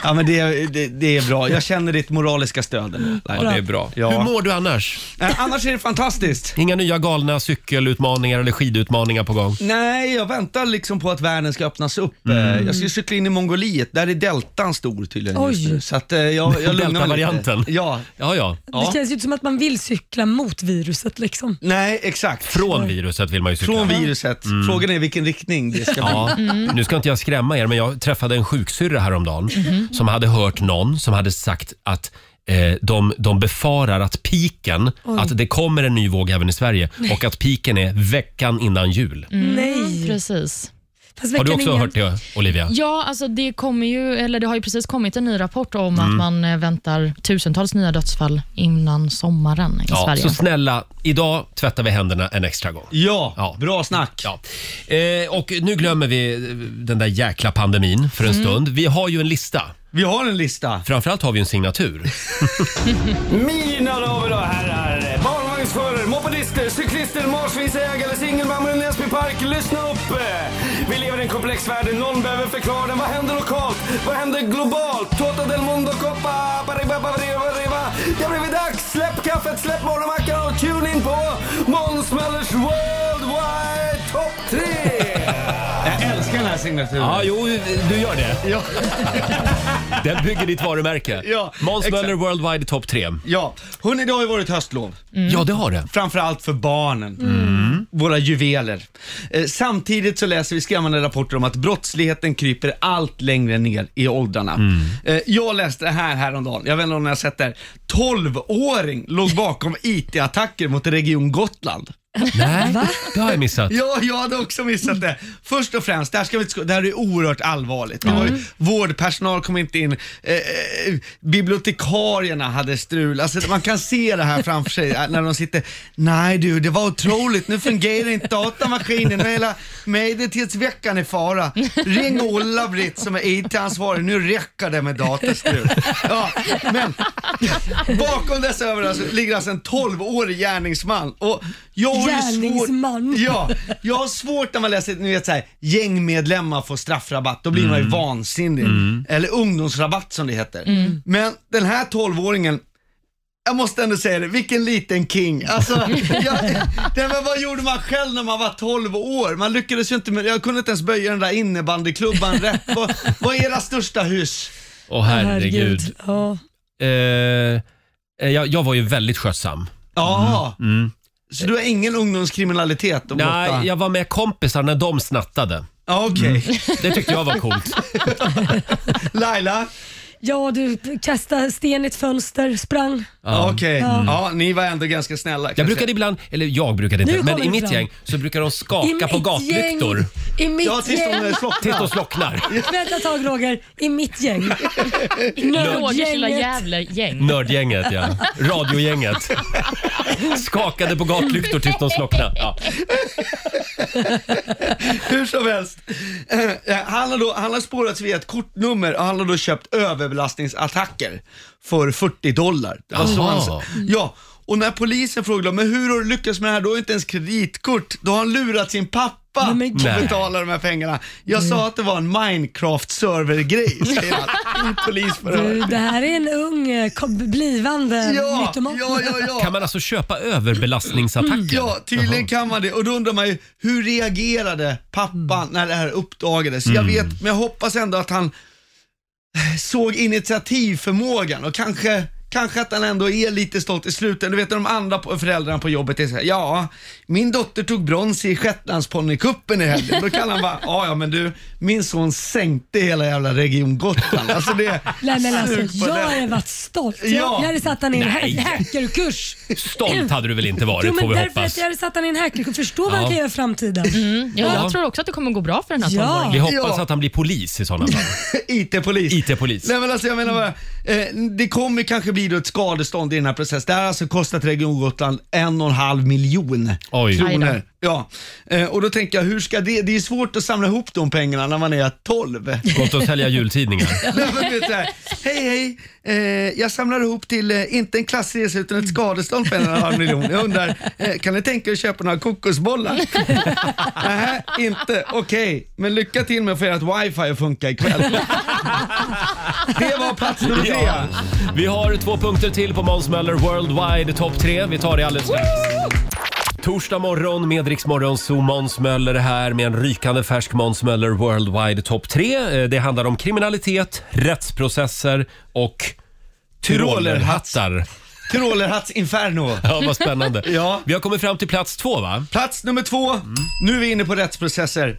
S10: Ja, men det, det, det är bra. Jag känner ditt moraliska stöd.
S1: Ja, det är bra.
S10: Ja.
S1: Hur mår du annars?
S10: annars är det fantastiskt.
S1: Inga nya galna cykelutmaningar eller skidutmaningar på
S10: Mm.
S1: gång?
S10: Nej, jag väntar liksom på att världen ska öppnas upp.
S1: Mm.
S10: Eh, Jag ska ju cykla in i Mongoliet, där är deltan stor tydligen just
S2: Oj.
S10: nu. Så att eh, jag, jag lugnar mig
S1: Delta-varianten?
S10: lite. Ja.
S1: Ja, ja.
S2: Det känns ju inte som att man vill cykla mot viruset liksom.
S10: Nej, exakt.
S1: Från viruset vill man ju cykla.
S10: Från viruset. Frågan är vilken riktning det ska
S1: Mm. Ja.
S10: bli.
S3: Mm.
S1: Nu ska inte jag skrämma er, men jag träffade en sjuksyrra häromdagen
S10: Mhm.
S1: som hade hört någon som hade sagt att eh, de, de befarar att piken,
S3: Oj.
S1: att det kommer en ny våg även i Sverige
S3: Nej. Mm.
S1: och att piken är veckan innan jul.
S2: Mm.
S3: Nej. Precis.
S1: Har du också hört det, Olivia?
S3: Ja, alltså det, kommer ju, eller det har ju precis kommit en ny rapport om
S1: Mm.
S3: att man eh, väntar tusentals nya dödsfall innan sommaren i
S1: Ja,
S3: Sverige.
S1: så snälla, idag tvättar vi händerna en extra gång.
S10: Ja, bra snack.
S1: Ja. Eh, och nu glömmer vi eh, den där jäkla pandemin för en
S11: Mm.
S1: stund. Vi har ju en lista.
S10: Vi har en lista.
S1: Framförallt har vi en signatur.
S11: Mina damer och herrar, barnvagnsförare, mopedister, cyklister, marsvinsägare, singelmammor i Näsby Park. Lyssna upp! Vi lever i en komplex värld, någon behöver förklara den. Vad händer lokalt? Vad händer globalt? Tota del mondo coppa, bariba, bariba, bariba. Det har blivit dags! Släpp kaffet, släpp morgonmackan och tune in på Måns Möllers Worldwide Top 3!
S10: Jag älskar den här signaturen.
S1: Ja, jo, du gör det.
S10: Ja.
S1: Den bygger ditt varumärke.
S10: Ja,
S1: Måns
S10: exakt.
S1: Möller Worldwide Top 3.
S2: Mm.
S10: Ja, hörni, det har ju varit höstlov.
S1: Mm. Ja, det har det.
S10: Framförallt för barnen. Våra juveler. Eh, samtidigt så läser vi skrämmande rapporter om att brottsligheten kryper allt längre ner i åldrarna. Eh, jag läste det här häromdagen, jag vet inte om ni har sett det här. 12-åring låg bakom IT-attacker mot Region Gotland.
S1: Nej, det har jag missat.
S10: Ja, jag hade också missat det. Först och främst, det här, ska vi, inte sko- det här är oerhört allvarligt. Det
S1: Ja.
S10: var ju, vårdpersonal kom inte in, eh, eh, bibliotekarierna hade strul. Alltså, man kan se det här framför sig eh, när de sitter, nej du, det var otroligt, nu fungerar inte datamaskinen, nu är hela medeltidsveckan i fara. Ring Ulla-Britt som är IT-ansvarig, nu räcker det med datastrul. Ja, men bakom dessa överraskningar ligger alltså en 12-årig gärningsman. Och jag har ju svårt-
S2: Gärningsman.
S10: Ja, jag har svårt när man läser, ni vet såhär, gängmedlemmar får straffrabatt, då blir man ju vansinnig. Eller ungdomsrabatt som det heter.
S12: Mm.
S10: Men den här 12-åringen, jag måste ändå säga det, vilken liten king. Alltså, jag, det, men vad gjorde man själv när man var 12 år? Man lyckades ju inte med, jag kunde inte ens böja den där innebandyklubban rätt. Vad, vad är era största hyss?
S1: Åh herregud.
S2: Ja.
S1: eh, jag, jag var ju väldigt skötsam.
S10: Ja,
S1: Mm. Mm.
S10: så du har ingen ungdomskriminalitet? och blotta-
S1: Nej, jag Mm. var med kompisar när de snattade.
S10: Okej.
S1: Det tyckte jag var coolt.
S10: Laila?
S2: Ja, du kastade sten i ett fönster, sprang.
S1: Ja.
S10: Okej,
S1: Mm.
S10: ja, ni var ändå ganska snälla.
S1: Jag brukade ibland, eller jag brukade inte,
S2: Nu
S1: men
S2: kommer
S1: i
S2: det
S1: mitt
S2: fram.
S1: gäng så brukar de
S2: I
S1: skaka på
S2: mitt
S1: gatlyktor.
S2: gäng. I mitt
S10: Ja, tills de
S2: gäng.
S1: Tills de slocknar.
S2: Vänta ett tag Roger, i mitt gäng.
S3: Rogers lilla
S2: Nördgänget.
S1: Mm.
S3: Gävle-gäng.
S1: Nördgänget ja. Radiogänget. Skakade på gatlyktor tills de slocknade. Ja.
S10: Hur som helst. Eh, Han har, då, han har spårats via ett kortnummer och han har då köpt överbelastningsattacker för 40 dollar. Det var så
S1: Jaha.
S10: han, sa. ja, och när polisen frågade men hur har du lyckats med det här? Du har ju inte ens kreditkort. Då har han lurat sin pappa
S2: men
S10: att
S1: gud.
S10: betala de här pengarna. Jag sa att det var en Minecraft-server-grej, säger han i
S2: Du,
S10: polisförhör.
S2: det här är en ung eh, kom- blivande
S10: Ja,
S2: mytoman.
S10: ja, ja, ja.
S1: Kan man alltså köpa
S2: Mm,
S1: överbelastningsattacker?
S10: Ja, tydligen kan man det. Och då undrar man ju, hur reagerade pappan när det här uppdagades? Jag vet, men jag hoppas ändå att han eh, såg initiativförmågan och kanske Kanske att han ändå är lite stolt i slutet. Du vet de andra på- föräldrarna på jobbet är såhär, ja, min dotter tog brons i Shetlandsponnycupen i helgen. Då kan han bara, ja ja men du, min son sänkte hela jävla Region Gotland. Alltså det,
S2: Nej, men alltså,
S10: Sug på
S2: jag
S10: den.
S2: hade varit stolt.
S10: Ja.
S2: Jag, jag hade satt han i en
S1: Nej.
S2: ha- hackerkurs.
S1: Stolt hade du väl inte
S2: Jo,
S1: varit får
S2: men
S1: vi
S2: därför
S1: hoppas.
S2: att jag hade satt han i en hackerkurs. Förstå vad
S1: Ja.
S2: han kan göra i framtiden.
S3: Ja,
S1: Ja.
S3: jag tror också att det kommer gå bra för den här
S2: Ja.
S3: tonåringen.
S1: Vi hoppas
S10: Ja.
S1: att han blir polis i sådana fall.
S10: IT-polis.
S1: IT-polis.
S10: Nej men alltså jag menar bara, eh, det kommer kanske bli då ett skadestånd i den här processen. Det här har alltså kostat Region Gotland en och en halv miljon
S1: Oj.
S10: kronor. Ja. Eh, och då tänker jag, hur ska det, det är svårt att samla ihop de pengarna när man är 12.
S1: Gått att sälja jultidningar.
S10: Nej, men du vet så här, hej hej, eh, jag samlar ihop till, eh, inte en klassresa utan ett skadestånd på en och en halv miljon. Jag undrar, eh, kan ni tänka er att köpa några kokosbollar? Nej, inte. Okej, men lycka till med att få ert wifi att funka ikväll. Det var plats nummer tre.
S1: Ja. Vi har två punkter till på Måns Möller Worldwide Top 3. Vi tar det alldeles strax. Torsdag morgon med Rix Morgon, så Måns Möller är här med en rykande färsk Måns Möller Worldwide Top 3. Eh, Det handlar om kriminalitet, rättsprocesser och tyrolerhattar.
S10: Trollerhatts Inferno.
S1: Ja, vad spännande.
S10: Ja.
S1: Vi har kommit fram till plats två, va?
S10: Plats nummer två. Nu är vi inne på rättsprocesser.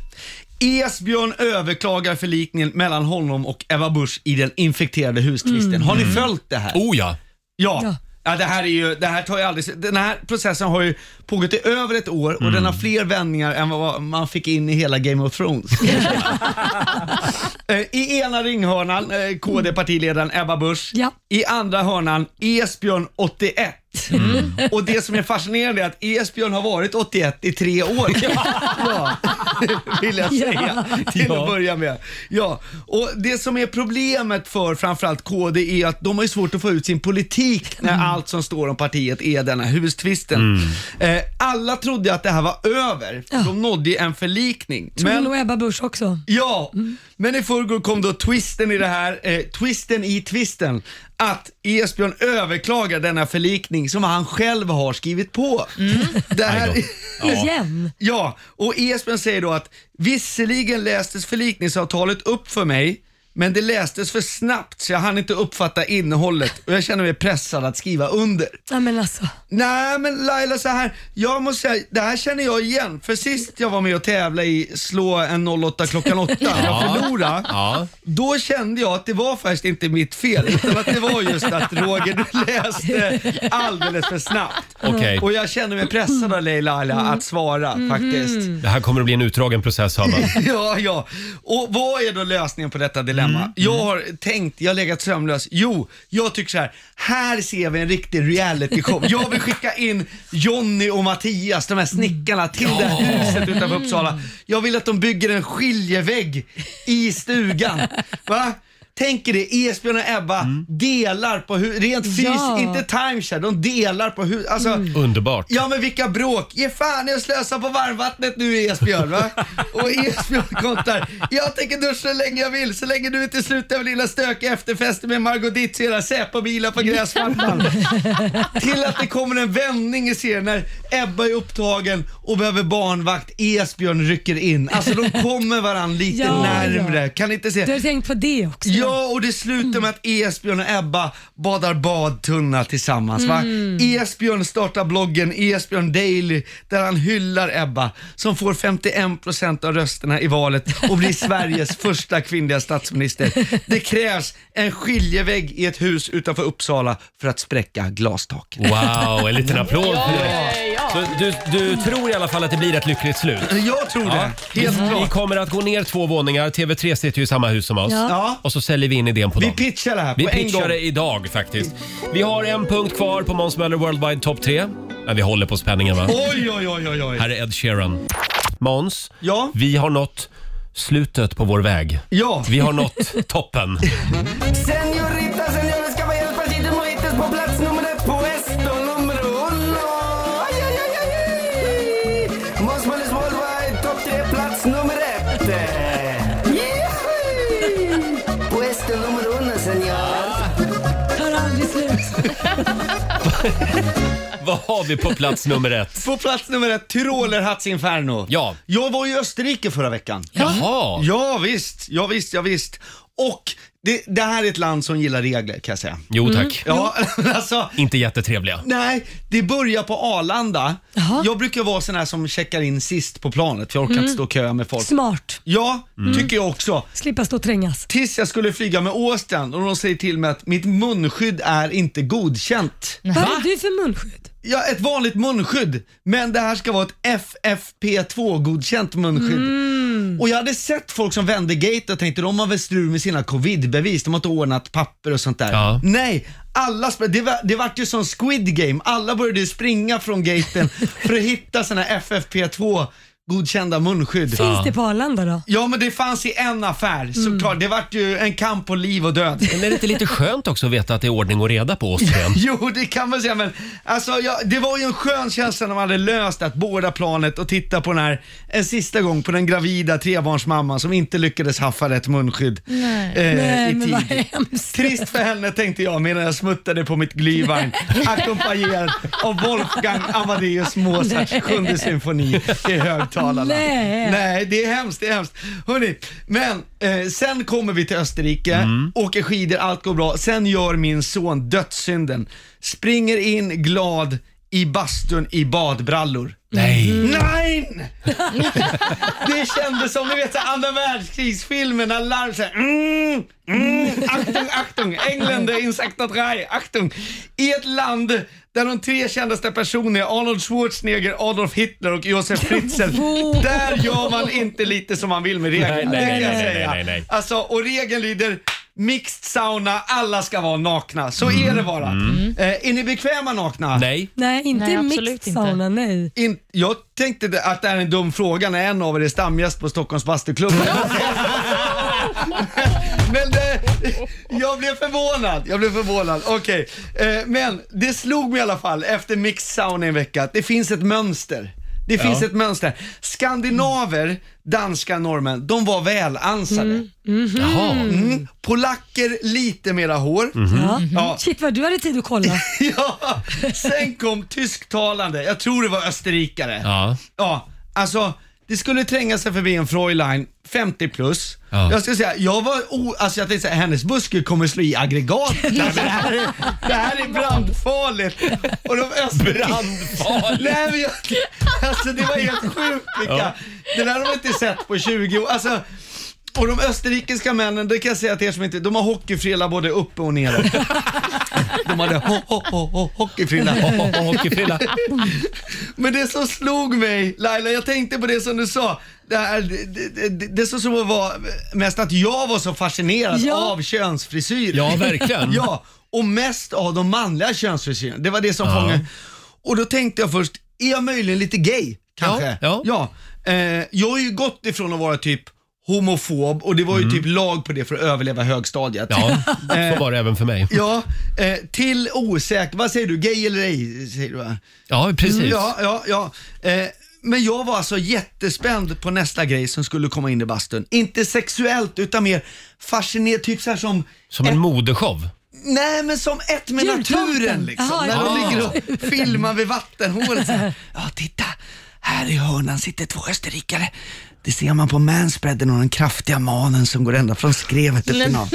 S10: Esbjörn överklagar förlikningen mellan honom och Eva Busch i den infekterade hustvisten. Har ni följt det här?
S1: Oh ja.
S10: Ja. ja.
S2: Ja.
S10: det här är ju, det här tar ju aldrig, den här processen har ju pågått i över ett år och den har fler vändningar än vad man fick in i hela Game of Thrones. Eh, I ena ringhörnan eh, KD-partiledaren Ebba Busch.
S2: Ja.
S10: I andra hörnan Esbjörn 81. Och det som är fascinerande är att Esbjörn har varit 81 i tre år. ja, vill jag säga. Till
S1: Ja.
S10: att börja med. Ja, och det som är problemet för framförallt KD är att de har ju svårt att få ut sin politik när allt som står om partiet är den här hustvisten. Eh, alla trodde att det här var över. för De nådde ju en förlikning.
S2: Tror nog Ebba Busch också.
S10: Ja, men i förrgår kom då twisten i det här, eh, twisten i twisten, att Esbjörn överklagar denna förlikning som han själv har skrivit på. Det här,
S1: Aj
S2: Igen.
S10: ja, och Esbjörn säger då att visserligen lästes förlikningsavtalet upp för mig, men det lästes för snabbt så jag hann inte uppfatta innehållet och jag känner mig pressad att skriva under.
S2: Ja, men alltså.
S10: Nej men Laila så här, jag måste säga, det här känner jag igen. För sist jag var med och tävlade i slå en 08 klockan 8, jag förlorade.
S1: Ja.
S10: Då kände jag att det var faktiskt inte mitt fel, utan att det var just att Roger, du läste alldeles för snabbt.
S1: Okej.
S10: Och jag kände mig pressad av Laila att svara faktiskt.
S1: Det här kommer att bli en utdragen process, hör man.
S10: Ja, ja. Och vad är då lösningen på detta dilemma? Jag har tänkt, jag har legat sömnlös. Jo, jag tycker så här. Här ser vi en riktig realityshow. Jag vill skicka in Jonny och Mattias, de här snickarna, till det här huset utanför Uppsala. Jag vill att de bygger en skiljevägg i stugan. Va? Tänk er det, Esbjörn och Ebba delar på hur, rent fysiskt,
S2: Ja.
S10: inte timeshare, de delar på hur, alltså
S1: Mm. Underbart.
S10: Ja men vilka bråk! Ge fan i att slösa på varmvattnet nu Esbjörn va? Och Esbjörn kontrar. Jag tänker duscha hur länge jag vill så länge du inte slutar med lilla stökiga efterfester med Margot Ditts och era Säpo-bilar på gräsmattan. Till att det kommer en vändning i serien när Ebba är upptagen och behöver barnvakt. Esbjörn rycker in. Alltså de kommer varandra lite
S2: Ja,
S10: närmre. Kan ni inte se?
S2: Du har tänkt på det också?
S10: Ja, och det slutar med att Esbjörn och Ebba badar badtunna tillsammans. Va?
S2: Mm.
S10: Esbjörn startar bloggen Esbjörn Daily där han hyllar Ebba som får 51% av rösterna i valet och blir Sveriges första kvinnliga statsminister. Det krävs en skiljevägg i ett hus utanför Uppsala för att spräcka glastaket.
S1: Wow, en liten applåd för det. Så du, du tror i alla fall att det blir ett lyckligt slut?
S10: Jag tror det. Helt
S1: vi, vi
S10: klart.
S1: kommer att gå ner två våningar. TV3 sitter ju i samma hus som oss.
S10: Ja. Ja.
S1: Och så säljer vi in idén på
S10: Vi
S1: dem.
S10: pitchar det här
S1: Vi
S10: på en
S1: pitchar
S10: gång.
S1: det idag faktiskt. Vi har en punkt kvar på Måns Möller Worldwide Top 3. Men vi håller på spänningen va?
S10: Oj, oj, oj, oj, oj.
S1: Här är Ed Sheeran. Måns,
S10: ja?
S1: vi har nått slutet på vår väg.
S10: Ja.
S1: Vi har nått toppen.
S11: Senorita, señores, caballeros, pasitos, mojitos på plats nummer ett puesto numero uno. Aj, aj, aj, aj, aj. Måns Möllers Worldwide topp tre, plats nummer ett. Jihi! Puesto numero uno, señor.
S10: Ah,
S2: Tar aldrig slut.
S1: Vad har vi på plats nummer ett?
S10: På plats nummer ett, Tyroler Hats Inferno.
S1: Ja.
S10: Jag var i Österrike förra veckan.
S1: Jaha.
S10: Ja visst, ja visst, ja visst. Och det, det här är ett land som gillar regler kan jag säga.
S1: Jo tack.
S10: Mm. Ja, alltså,
S1: Inte jättetrevliga.
S10: nej, det börjar på Arlanda. Jag brukar vara sån här som checkar in sist på planet för jag orkar
S2: Mm.
S10: inte stå och köa med folk.
S2: Smart.
S10: Ja, tycker jag också.
S2: Slippa stå och trängas.
S10: Tills jag skulle flyga med Austin och de säger till mig att mitt munskydd är inte godkänt.
S2: Vad är du för munskydd?
S10: Ja, ett vanligt munskydd. Men det här ska vara ett FFP2-godkänt munskydd. Och jag hade sett folk som vände gate och tänkte de har väl strul med sina covid-bevis. De har inte ordnat papper och sånt där.
S1: Ja.
S10: Nej, alla sp- det, var, det vart ju som Squid Game. Alla började ju springa från gaten för att hitta sina FFP2 godkända munskydd.
S2: Finns det på Arlanda då?
S10: Ja men det fanns i en affär såklart. Det vart ju en kamp på liv och död.
S1: Men är det inte lite skönt också att veta att det är ordning och reda på Åström?
S10: Jo, det kan man säga, men alltså, ja, det var ju en skön känsla när man hade löst att båda planet och titta på den här, en sista gång på den gravida trebarnsmamman som inte lyckades haffa rätt munskydd
S2: Nej.
S10: eh,
S2: Nej,
S10: i
S2: men vad
S10: tid. Trist för henne tänkte jag medan jag smuttade på mitt Glühwein ackompanjerad av Wolfgang Amadeus Mozarts
S2: Nej.
S10: sjunde symfoni i högtalarna.
S2: Nej.
S10: Nej, det är hemskt, det är hemskt. Hörrni, men eh, sen kommer vi till Österrike, åker skidor, allt går bra. Sen gör min son dödssynden. Springer in glad i bastun i badbrallor.
S1: Nej.
S10: Nej! Det kändes som ni vet så här andra världskrigsfilmen när larm såhär mm, mm, Achtung, Achtung, Engländer, Insekter 3, Achtung. I ett land där de tre kändaste personerna är Arnold Schwarzenegger, Adolf Hitler och Josef Fritzl. Där gör man inte lite som man vill med
S1: Nej,
S10: regeln.
S1: nej,
S10: det kan
S1: nej,
S10: jag
S1: nej,
S10: säga.
S1: nej, nej.
S10: Alltså, och regeln lyder Mixed sauna, alla ska vara nakna. Så är det bara. Eh, är ni bekväma nakna?
S1: Mm. Nej.
S2: Nej, inte
S3: Nej,
S2: Nej,
S3: absolut
S2: mixed
S3: inte.
S2: sauna, nej.
S10: In, jag tänkte det- att det här är en dum fråga när en av er är stamgäst på Stockholms bastuklubb. men det, jag blev förvånad. Jag blev förvånad. Okej, Eh, men det slog mig i alla fall efter mix sauna i en vecka att det finns ett mönster. Det finns
S1: Ja.
S10: ett mönster. Skandinaver, danska, norrmän, de var välansade.
S1: Mm. Jaha.
S10: Mm. Polacker lite mera hår.
S1: Mhm.
S2: Ja.
S10: Ja.
S2: Mm. Shit vad du hade tid att kolla.
S10: ja, sen kom tysktalande, jag tror det var österrikare.
S1: Ja.
S10: Ja, alltså det skulle tränga sig förbi en Freulein 50 plus.
S1: Ja.
S10: Jag ska säga, jag var o- alltså jag tänkte säga, hennes buske kommer slå i aggregat. Det här, är- det här är brandfarligt. Och de
S1: Brandfarligt.
S10: Nej men jag, alltså det var helt sjukt vilka.
S1: Ja.
S10: Det där har man inte sett på 20 år. Alltså, och de österrikiska männen, det kan jag säga till er som inte, de har hockeyfrilla både uppe och nere. De hade ho, ho, ho, ho, hockeyfrilla.
S1: Och hockeyfrilla.
S10: Men det som slog mig, Laila, jag tänkte på det som du sa. Det, här, det, det, det, det som slog mig var mest att jag var så fascinerad
S2: Ja.
S10: av könsfrisyrer.
S1: Ja, verkligen.
S10: ja, och mest av de manliga könsfrisyrerna. Det var det som fångade. Och då tänkte jag först, är jag möjligen lite gay? Kanske?
S1: Ja,
S10: ja. Eh, jag har ju gått ifrån att vara typ homofob och det var ju typ lag på det för att överleva högstadiet.
S1: Mm. Ja, så var det även för mig.
S10: Eh. Ja, eh, till osäker. Vad säger du? Gay eller ej? Säger du, va?
S1: Ja, precis.
S10: Ja, ja, ja. Eh, men jag var alltså jättespänd på nästa grej som skulle komma in i bastun. Inte sexuellt utan mer fascinerad, typ så här som...
S1: Som en modeshow.
S10: Nej men som ett med
S2: Jultomten.
S10: naturen liksom.
S2: Jaha,
S10: När de
S2: ja.
S10: ligger och filmar vid vattenhålet. så här. Ja titta, här i hörnan sitter två österrikare. Det ser man på manspreaden och den kraftiga manen som går ända från skrevet till
S12: Nej.
S10: final.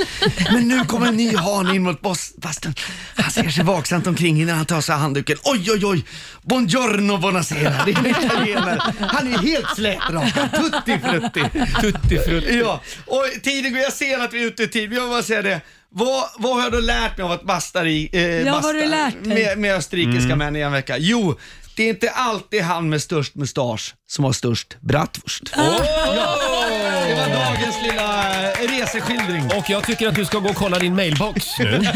S10: Men nu kommer en ny han in mot boss- bastun. Han ser sig vaksamt omkring innan han tar sig handduken. Oj, oj, oj! Buongiorno, buonasera. Det är en italienare. Han är helt slätrakad. Tutti frutti.
S1: Tutti frutti.
S10: Ja, och tiden går. Jag ser att vi är ute i tid, men jag vill bara säga det. Vad, vad har jag då lärt mig av att basta, i, eh,
S2: Ja, vad har
S10: basta
S2: du lärt dig?
S10: med, med österrikiska
S2: Mm.
S10: män i en vecka? Jo, det är inte alltid han med störst mustasch som har störst bratwurst.
S2: Ah.
S10: Det var dagens lilla eh, reseskildring.
S1: Och jag tycker att du ska gå och kolla din mailbox nu.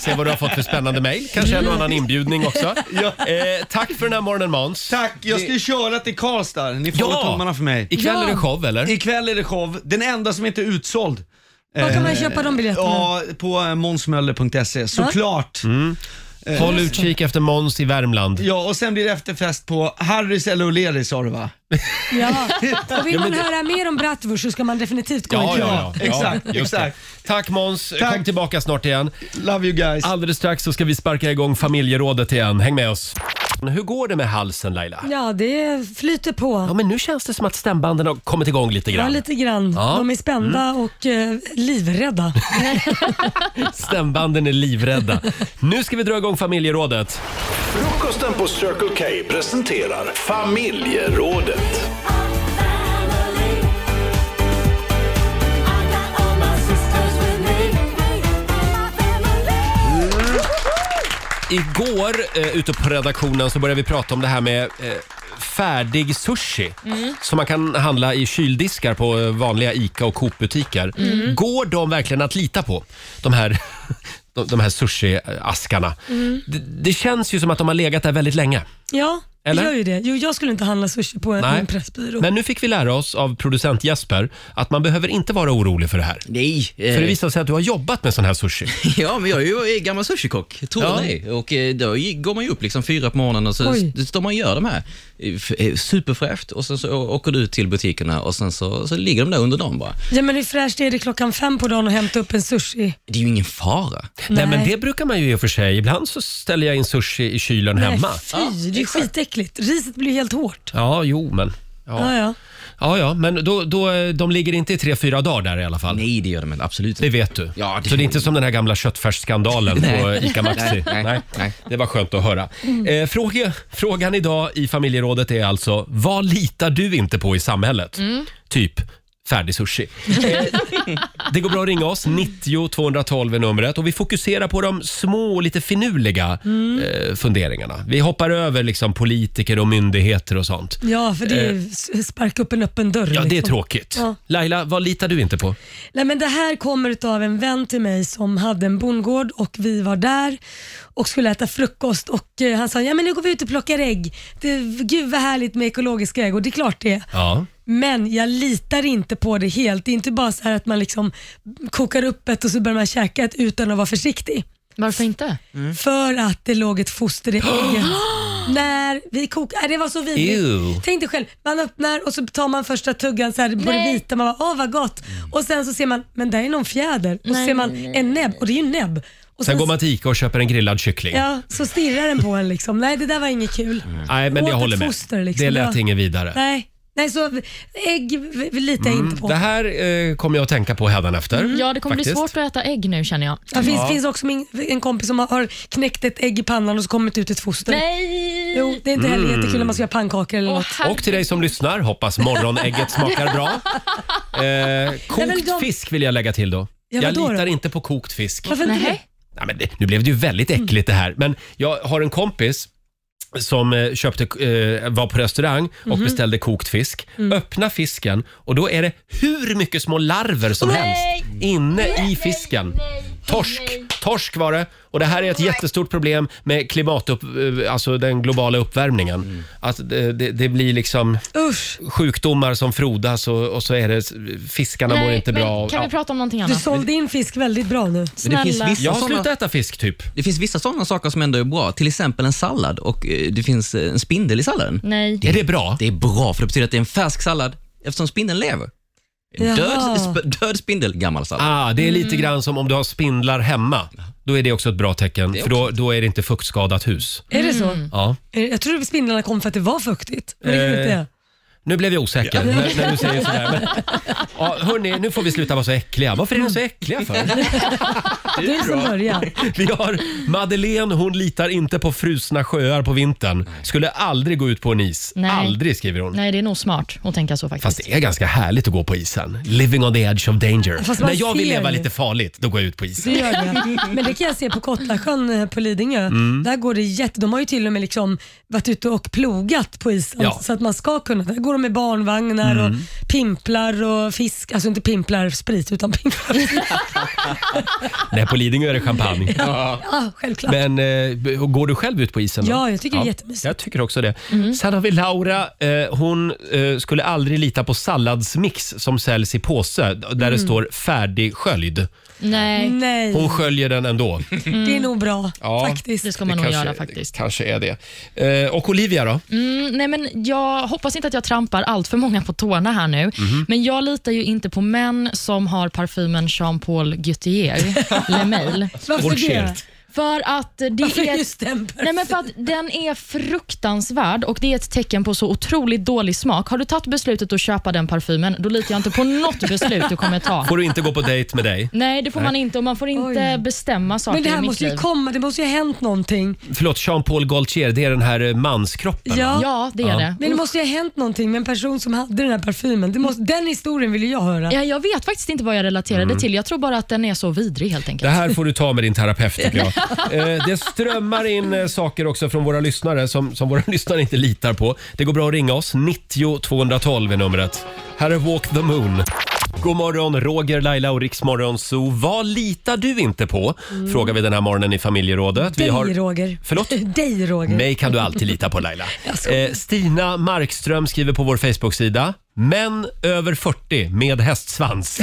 S1: Se vad du har fått för spännande mail. Kanske en och annan inbjudning också. Eh, tack för den här morgonen Måns.
S10: Tack, jag ska ju köra till Karlstad. Ni får hålla tummarna för mig.
S1: Ikväll är det show eller?
S10: Ikväll är det show. Den enda som inte är utsåld.
S2: Var kan man
S10: Eh,
S2: köpa de biljetterna?
S10: Ja, på eh, månsmöller.se såklart. Eh,
S1: Håll utkik efter Måns i Värmland.
S10: Ja, och sen blir det efterfest på Harrys eller O'Learys sa du va?
S2: Ja. Och vill
S10: Ja, men
S2: man
S10: det-
S2: höra mer om bratwurst så ska man definitivt gå
S1: Ja, ja,
S2: ikväll.
S1: ja.
S10: exakt,
S1: Ja, just det.
S10: exakt.
S1: Tack Måns, kom tillbaka snart igen.
S10: Love you guys.
S1: Alldeles strax så ska vi sparka igång familjerådet igen. Häng med oss. Hur går det med halsen Laila?
S2: Ja, det flyter på.
S1: Ja, men nu känns det som att stämbanden har kommit igång lite
S2: Ja,
S1: grann.
S2: lite grann.
S1: Ja.
S2: De är spända och eh, livrädda.
S1: Stämbanden är livrädda. Nu ska vi dra igång familjerådet.
S13: Frukosten på Circle K presenterar familjerådet.
S1: Igår eh, ute på redaktionen så började vi prata om det här med eh, färdig sushi
S12: Mm.
S1: som man kan handla i kyldiskar på eh, vanliga ICA och Coop-butiker.
S12: Mm.
S1: Går de verkligen att lita på, de här, de, de här sushi-askarna?
S2: Mm.
S1: Det, det känns ju som att de har legat där väldigt länge.
S2: Ja,
S1: Eller?
S2: Eller? gör ju det. Jo, jag skulle inte handla sushi på en,
S1: Nej.
S2: en pressbyrå.
S1: Men nu fick vi lära oss av producent Jesper att man behöver inte vara orolig för det här.
S8: Nej. Eh,
S1: För det visar sig att du har jobbat med sån här sushi.
S8: Ja, men jag är ju gammal sushikock, tror
S1: Ja.
S8: jag det är. Och eh, då gi- går man ju upp liksom fyra på morgonen och så
S1: Oj.
S8: s- står man och gör de här. eh, f- eh, Superfräscht och sen så å- åker du ut till butikerna och sen så, så ligger de där under dagen bara.
S2: Ja, men hur fräscht är det klockan fem på dagen att hämta upp en sushi?
S8: Det är ju ingen fara.
S1: Nej, men
S2: Nej.
S1: det brukar man ju i och för sig. Ibland så ställer jag in sushi i kylen hemma.
S2: Nej, fy, det är ju skitäckligt. Riset blir helt hårt.
S1: Ja, jo, men...
S2: Ja, ja.
S1: Ja, ja, men då, då, de ligger inte i tre, fyra dagar där i alla fall?
S8: Nej, det gör de väl absolut inte.
S1: Det vet du.
S8: Ja, det
S1: Så det är
S8: gör
S1: inte som den här gamla köttfärsskandalen på
S8: Nej.
S1: ICA Maxi?
S8: Nej, nej,
S1: Det var skönt att höra. Eh, fråga, frågan idag i familjerådet är alltså, vad litar du inte på i samhället?
S12: Mm.
S1: Typ färdig sushi. Eh, det går bra att ringa oss, 90 212 är numret och vi fokuserar på de små och lite finurliga
S2: Mm.
S1: eh, funderingarna. Vi hoppar över liksom politiker och myndigheter och sånt.
S2: Ja, för det är
S1: Eh.
S2: ju s- sparka upp en öppen dörr.
S1: Ja, det är
S2: liksom.
S1: tråkigt.
S2: Ja.
S1: Laila, vad litar du inte på?
S2: Nej, men det här kommer av en vän till mig som hade en bondgård och vi var där och skulle äta frukost och eh, han sa ja men nu går vi ut och plockar ägg. Det, gud vad härligt med ekologiska ägg och det är klart det är.
S1: Ja.
S2: Men jag litar inte på det helt. Det är inte bara så här att man liksom kokar upp ett och så börjar man käka ett utan att vara försiktig.
S3: Varför
S1: Mm.
S3: inte?
S2: För att det låg ett foster i ägget. När vi kokade, Nej, det var så
S12: Ew.
S2: vidrigt. Tänk dig själv, man öppnar och så tar man första tuggan så här på det
S12: Nej.
S2: vita, man bara åh vad gott.
S1: Mm.
S2: Och sen så ser man, men där är någon fjäder. Och så
S12: Nej,
S2: ser man
S12: nej,
S2: en näbb och det är ju näbb. Och
S1: Sen, går man till Ica och köper en grillad kyckling.
S2: Ja, så stirrar den på en liksom. Nej det där var inget kul.
S1: Nej, men
S2: Åt
S1: jag
S2: ett
S1: håller med.
S2: foster, liksom.
S1: Det lät
S2: Ja.
S1: inget vidare.
S2: Nej. Nej, så ägg v- v- litar jag inte på.
S1: Mm. Det här eh, kommer jag att tänka på hädanefter.
S2: Mm.
S3: Ja, det kommer
S1: faktiskt. Mm.
S3: bli svårt att äta ägg nu känner jag.
S2: Det finns,
S1: Ja.
S2: finns också min, en kompis som har- har knäckt ett ägg i pannan och så kommit ut ett foster.
S3: Nej!
S2: Jo, det är inte heller
S1: Mm.
S2: jättekul om man ska göra pannkakor eller något.
S1: Och till dig som lyssnar, hoppas morgonägget smakar bra. Eh,
S2: men
S1: kokt
S2: de-
S1: fisk vill jag lägga till då.
S2: Ja,
S1: jag
S2: vadå då?
S1: litar inte på kokt fisk.
S2: Varför inte det?
S1: Nej, men det, nu blev det ju väldigt äckligt det här. Men jag har en kompis som eh, köpte, eh, var på restaurang och
S12: Mhm.
S1: beställde kokt fisk.
S3: Mm.
S1: Öppna fisken och då är det hur mycket små larver som
S12: Nej!
S1: helst inne i fisken. Torsk, torsk var det. Och det här är ett jättestort problem med klimatupp, eh, alltså den globala uppvärmningen. Att eh, det, det blir liksom
S2: Usch.
S1: sjukdomar som frodas och, och så är det fiskarna mår inte
S3: men
S1: bra.
S3: Kan
S1: Ja.
S3: vi prata om någonting
S2: Du
S3: annat?
S2: sålde in fisk väldigt bra nu.
S1: jag har slutat äta fisk typ.
S8: Det finns vissa sådana saker som ändå är bra, till exempel en sallad och eh, det finns eh, en spindel i salladen.
S3: Nej.
S1: det bra?
S8: Det är bra, för det betyder att det är en färsk sallad eftersom spindeln lever.
S2: Jaha.
S8: Död, sp- död spindel, gammal sallad.
S1: Ah, det är lite
S8: Mm.
S1: grann som om du har spindlar hemma. Då är det också ett bra tecken, för då, då är det inte fuktskadat hus.
S2: Är det så?
S1: Ja.
S2: Eh, Jag trodde spindlarna kom för att det var fuktigt. Men det gjorde inte
S1: Mm. Eh,
S2: det.
S1: Nu blev jag osäker
S2: Ja.
S1: när, när du säger sådär. Men, ja, hörni, nu får vi sluta vara så äckliga. Varför är ni så äckliga för?
S2: Du är som
S1: bra.
S2: börjar.
S1: Vi har Madeleine, hon litar inte på frusna sjöar på vintern. Skulle aldrig gå ut på en is.
S3: Nej.
S1: Aldrig, skriver hon.
S3: Nej, det är nog smart att tänka så faktiskt.
S1: Fast det är ganska härligt att gå på isen. Living on the edge of
S2: Fast
S1: danger.
S2: man
S1: När jag vill
S2: ser
S1: leva
S2: ju.
S1: lite farligt, då går jag ut på isen.
S2: Det gör det. Men det kan jag se på Kottlasjön eh, på Lidingö.
S1: Mm.
S2: Där går det jätte... De har ju till och med liksom varit ute och plogat på isen
S1: Ja.
S2: så att man ska kunna. Där går de med barnvagnar och
S1: Mm.
S2: pimplar och fisk. Alltså inte pimplar sprit utan pimplar.
S1: Nej, på Lidingö är det champagne.
S2: ja, självklart.
S1: Men eh, b- går du själv ut på isen? Då?
S2: Ja, jag tycker det är jättemysigt. Mm.
S1: Jag tycker också det. Sen har vi Laura. Eh, hon eh, skulle aldrig lita på salladsmix som säljs i påse där det
S2: Mm.
S1: står färdigsköljd.
S3: Nej.
S1: Mm.
S2: Nej.
S1: Hon sköljer den ändå.
S2: Det är nog bra
S1: Ja,
S2: faktiskt.
S3: Det ska man nog göra faktiskt.
S1: kanske är det. Eh, och Olivia då?
S3: Mm, nej men jag hoppas inte att jag trampar allt för många på tårna här nu,
S1: Mhm.
S3: men jag litar ju inte på män som har parfymen Jean Paul Gaultier, Le Mail.
S2: Varför det? Bortskällt.
S3: För att det
S2: Varför
S3: är...
S2: just den
S3: nej men för att den är fruktansvärd och det är ett tecken på så otroligt dålig smak. Har du tagit beslutet att köpa den parfymen, då litar jag inte på något beslut du kommer ta.
S1: Får du inte gå på dejt med dig?
S3: Nej, det får man
S1: Nej.
S3: inte och man får inte bestämma saker
S2: Men det
S3: i
S2: här
S3: mitt
S2: måste ju
S3: liv.
S2: komma, det måste ju ha hänt någonting.
S1: Förlåt, Jean-Paul Gaultier, det är den här eh, manskroppen va?
S2: Men det måste ju ha hänt någonting med en person som hade den här parfymen. Det måste, den historien vill ju jag höra.
S3: Ja, jag vet faktiskt inte vad jag relaterade
S1: Mm.
S3: till. Jag tror bara att den är så vidrig helt enkelt.
S1: Det här får du ta med din terapeut tycker jag. Eh, det strömmar in eh, saker också från våra lyssnare som, som våra lyssnare inte litar på. Det går bra att ringa oss. 90 212 är numret. Här är Walk the Moon. God morgon, Roger, Laila och Riksmorgon Zoo. Vad litar du inte på?
S2: Mm.
S1: Frågar vi den här morgonen i familjerådet. Vi
S2: Dig
S1: har...
S2: Roger.
S1: Förlåt?
S2: Dig Roger.
S1: Mig kan du alltid lita på Laila. Eh, Stina Markström skriver på vår Facebook-sida. Män över 40 med hästsvans.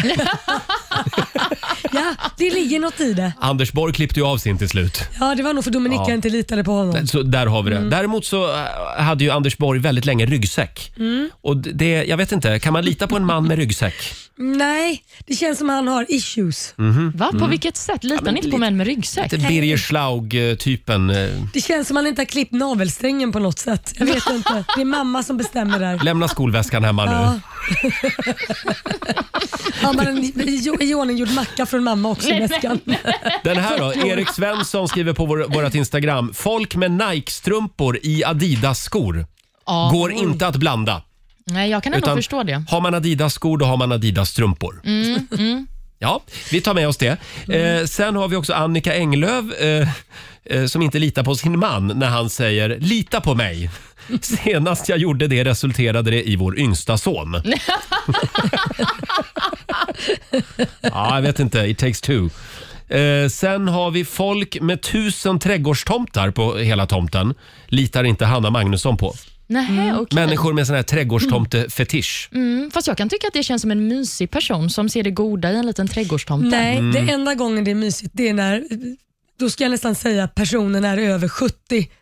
S2: Ja, det ligger något i det.
S1: Anders Borg klippte ju av sin till slut.
S2: Ja, det var nog för Dominika
S1: Ja.
S2: inte litade på honom.
S1: Så där har vi
S2: Mm.
S1: det. Däremot så äh, hade ju Anders Borg väldigt länge ryggsäck.
S2: Mm.
S1: Och det, jag vet inte, kan man lita på en man med ryggsäck?
S2: Nej, det känns som han har issues.
S1: Mhm.
S3: Va? På
S1: Mm.
S3: vilket sätt? Litar
S1: men
S3: ni inte
S1: lite-
S3: på män med ryggsäck?
S1: Lite Birger Schlaug-typen. eh,
S2: Det känns som han inte har klippt navelsträngen på något sätt. Jag vet inte. Det är mamma som bestämmer där.
S1: Lämna skolväskan hemma
S2: Ja.
S1: nu.
S2: Har man en i- i ordning gjord macka från mamma också i
S3: Nej,
S2: väskan?
S1: Den här då? Erik Svensson skriver på vår, vårt Instagram. Folk med Nike-strumpor i Adidas-skor
S3: Ja.
S1: går
S3: Oj.
S1: inte att blanda.
S3: Nej, jag kan ändå
S1: Utan
S3: förstå det.
S1: Har man Adidas-skor, då har man Adidas-strumpor.
S3: Mm, mm.
S1: Ja, vi tar med oss det. Eh, sen har vi också Annika Englöf eh, eh, som inte litar på sin man när han säger “lita på mig”. Senast jag gjorde det resulterade det i vår yngsta son. Ja, jag vet inte. It takes two. Eh, sen har vi folk med tusen trädgårdstomtar på hela tomten. Litar inte Hanna Magnusson på.
S3: Nähä,
S2: Mm.
S3: okej.
S1: Människor med sån här trädgårdstomte-fetisch.
S3: Mm, fast jag kan tycka att det känns som en mysig person som ser det goda i en liten trädgårdstomte.
S2: Nej,
S1: Mm.
S2: det enda gången det är mysigt det är när, då ska jag nästan säga att personen är över 70.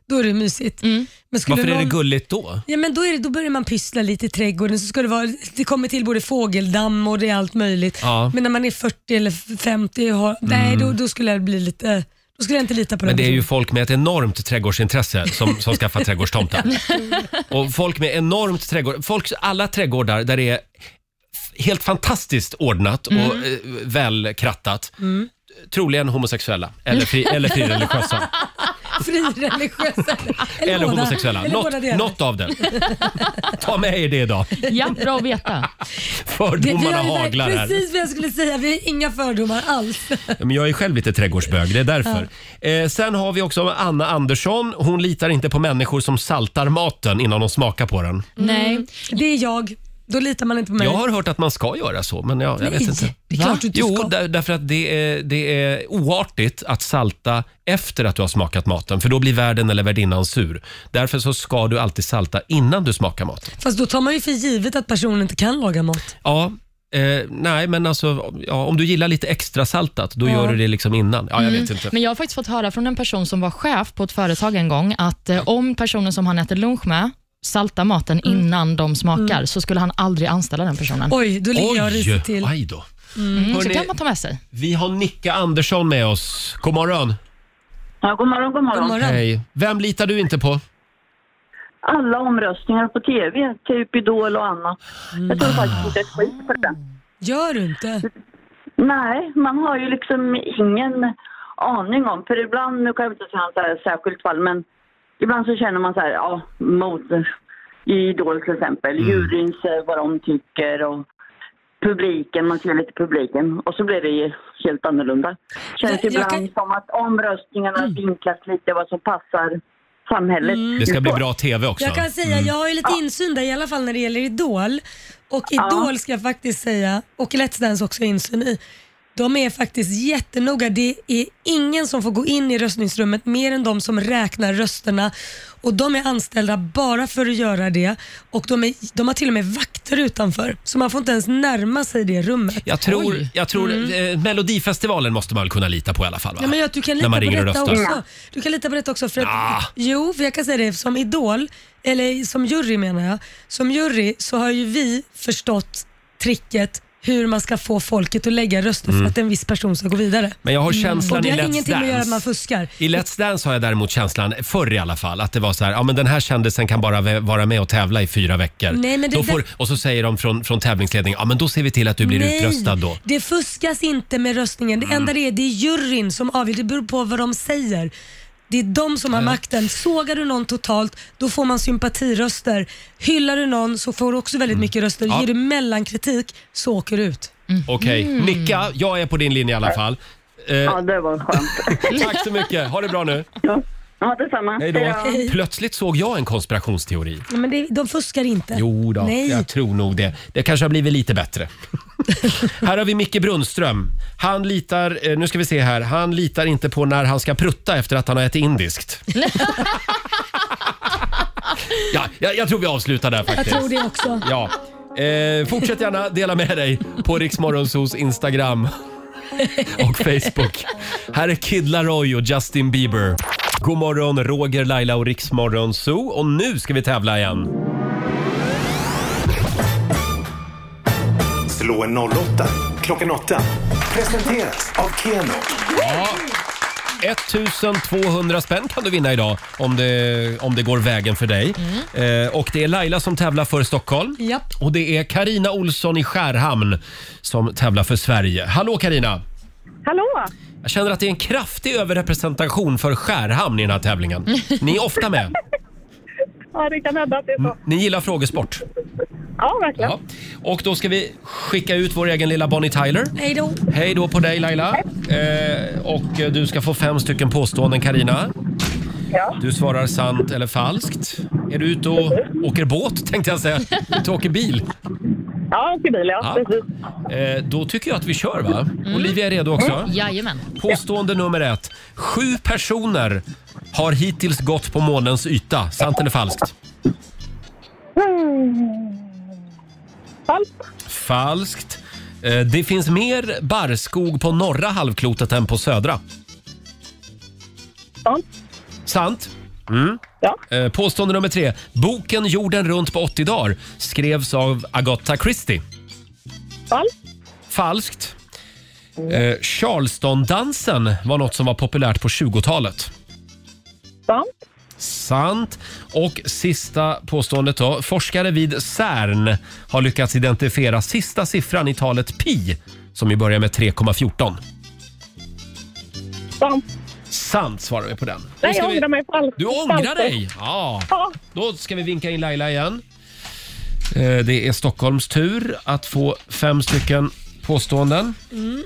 S2: Då är det mysigt. Men skulle
S1: Varför är det
S2: någon-
S1: gulligt då?
S2: Ja, men då, är det, då börjar man pyssla lite i trädgården. Så ska det, vara, det kommer till både fågeldamm och det är allt möjligt.
S1: Ja. Mm.
S2: Men när man är 40 eller 50, och har, nej, då, då skulle jag bli lite... Då skulle jag inte lita på
S1: Men
S2: den
S1: det är ju
S2: personen.
S1: folk med ett enormt trädgårdsintresse som, som skaffar trädgårdstomtar. Och folk med enormt trädgård, folk, alla trädgårdar där det är f- helt fantastiskt ordnat och
S3: Mm.
S1: eh, välkrattat.
S2: Mm.
S1: Troligen homosexuella eller, fri, eller frireligiösa.
S2: Frireligiösa.
S1: Eller,
S2: båda.
S1: homosexuella.
S2: Eller båda
S1: något,
S2: delar.
S1: något av det. Ta med er det idag.
S3: Ja, bra att veta.
S2: Det- vi
S1: Fördomarna
S2: har ju verk-
S1: haglar här.
S2: Precis vad jag skulle säga. Vi har inga fördomar alls.
S1: Ja, Men jag är själv lite trädgårdsbög, det är därför. Eh, sen har vi också Anna Andersson. Hon litar inte på människor som saltar maten innan de smakar på den.
S2: Nej, det är jag. Då litar man inte på mig.
S1: Jag har hört att man ska göra så, men jag, jag vet
S2: Nej,
S1: inte.
S2: det är klart du inte
S1: jo,
S2: ska.
S1: där, därför att det är, det är oartigt att salta efter att du har smakat maten, för då blir värden eller värdinnan sur. Därför så ska du alltid salta innan du smakar maten.
S2: Fast då tar man ju för givet att personen inte kan laga mat.
S1: Ja, eh, nej men alltså, ja, om du gillar lite extra saltat, då
S3: Ja.
S1: gör du det liksom innan. Ja, jag
S3: Mm,
S1: vet inte.
S3: Men jag har faktiskt fått höra från en person som var chef på ett företag en gång att eh, om personen som han äter lunch med salta maten innan de smakar
S2: Mm.
S3: så skulle han aldrig anställa den personen.
S2: Oj, då ligger jag och ryser till.
S1: Aj då.
S3: Mm, så
S1: Hörrni-
S3: kan man ta med sig.
S1: Vi har Nicke Andersson med oss. God morgon.
S12: Ja, god morgon, god morgon.
S1: Hej. Vem litar du inte på?
S12: Alla omröstningar på tv, typ Idol och annat. Jag tror faktiskt inte ett skit på det.
S2: Gör du inte?
S12: Nej, man har ju liksom ingen aning om. För ibland, nu kan jag inte säga så här särskilt fall, men ibland så känner man så här, ja, mot i Idol till exempel.
S2: Mm.
S12: Juryns, eh, vad de tycker och publiken, man ser lite publiken. Och så blir det ju helt annorlunda. Känns
S2: Jag- Mm. jag
S12: ibland som att omröstningarna vinklas lite vad som passar samhället.
S2: Mm.
S1: Det ska bli bra TV också.
S2: Jag kan säga, jag har ju lite insyn där i alla fall när det gäller Idol. Och Idol ska jag faktiskt säga, och Let's Dance också har insyn i. De är faktiskt jättenoga. Det är ingen som får gå in i röstningsrummet mer än de som räknar rösterna. Och de är anställda bara för att göra det. Och de, är, de har till och med vakter utanför. Så man får inte ens närma sig det rummet.
S1: Jag tror,
S2: Oj.
S1: jag tror
S2: Mm.
S1: eh, Melodifestivalen måste man väl kunna lita på i alla fall? Va?
S2: Ja, men jag, du kan
S1: När
S2: lita
S1: man
S2: på
S1: ringer och
S2: detta
S1: röstar. Ah.
S2: också. Du kan lita på detta också. För att, Jo, för jag kan säga det som idol, eller som jury menar jag. Som jury så har ju vi förstått tricket hur man ska få folket att lägga röster
S1: Mm.
S2: för att en viss person ska gå vidare.
S1: Men jag har känslan
S2: Mm. Och det
S1: i
S2: har
S1: Let's
S2: ingenting med att göra att
S1: Dance.
S2: man fuskar.
S1: I Let's Dance har jag däremot känslan, förr i alla fall, att det var så här, ja men den här kändisen kan bara vä- vara med och tävla i fyra veckor.
S2: Nej, men det
S1: då
S2: där-
S1: får, och så säger de från, från tävlingsledningen, ja men då ser vi till att du blir
S2: Nej,
S1: utröstad då. Mm.
S2: det fuskas inte med röstningen. Det enda det är, det är juryn som avgör. Det beror på vad de säger. Det är de som har makten. Sågar du någon totalt, då får man sympatiröster. Hyllar du någon så får du också väldigt mycket röster.
S1: Mm. Ja.
S2: Ger du mellankritik så åker du ut.
S1: Okej,
S2: Mm.
S1: Nicka, jag är på din linje i alla fall. Eh,
S12: Ja, det var skönt.
S1: Tack så mycket, ha det bra nu.
S12: Ja, detsamma.
S1: Hej då.
S2: Hej.
S1: Plötsligt såg jag en konspirationsteori.
S2: Ja, Men det, de fuskar inte.
S1: Jo då,
S2: Nej.
S1: jag tror nog det. Det kanske har blivit lite bättre. här har vi Micke Brunnström. Han litar, eh, nu ska vi se här, han litar inte på när han ska prutta efter att han har ätit indiskt. ja, jag, jag tror vi avslutar där
S2: Jag
S1: faktiskt.
S2: tror det också.
S1: Ja. Eh, fortsätt gärna dela med dig på Riksmorgonsos Instagram och Facebook. Här är Kid Laroi och Justin Bieber. God morgon, Roger, Laila och Riksmorgon Zoo. Och nu ska vi tävla igen.
S13: Slå en 08 klockan 8. Presenteras av Keno.
S1: Ja. 1200 spänn kan du vinna idag om det, om det går vägen för dig. Eh, och det är Laila som tävlar för Stockholm.
S2: Japp.
S1: Och det är Karina Olsson i Skärhamn som tävlar för Sverige. Hallå Karina!
S14: Hallå!
S1: Jag känner att det är en kraftig överrepresentation för Skärhamn i den här tävlingen. Ni är ofta med.
S14: Ja, det kan hända att det är så.
S1: Ni gillar frågesport.
S14: Ja, verkligen.
S1: Ja. Och då ska vi skicka ut vår egen lilla Bonnie Tyler.
S2: Hej då.
S1: Hej då på dig Laila. Eh, och eh, du ska få fem stycken påståenden Karina. Du svarar sant eller falskt. Är du ute och åker båt tänkte jag säga. Du åker bil.
S14: Ja, åker bil, ja.
S1: Ja.
S14: Precis. Mm.
S1: Eh, då tycker jag att vi kör va? Olivia är redo också.
S3: Jajamän.
S1: Påstående nummer ett. Sju personer har hittills gått på månens yta. Sant eller falskt?
S14: Falskt.
S1: Falskt. Eh, Det finns mer barrskog på norra halvklotet än på södra.
S14: Sant.
S1: Sant. Mm. Eh, Påstående nummer tre. Boken Jorden runt på 80 dagar skrevs av Agatha Christie.
S14: Falskt.
S1: Falskt. Eh, Charlestondansen var något som var populärt på 20-talet.
S14: Sant.
S1: Sant. Och sista påståendet då. Forskare vid CERN har lyckats identifiera sista siffran i talet pi som ju börjar med 3,14.
S14: Sant.
S1: Sant svarar vi på den.
S14: Nej, jag ångrar mig. Falskt.
S1: Du ångrar
S14: Falskt.
S1: dig? Ja.
S14: Ja.
S1: Då ska vi vinka in Laila igen. Eh, Det är Stockholms tur att få fem stycken påståenden.
S2: Mm.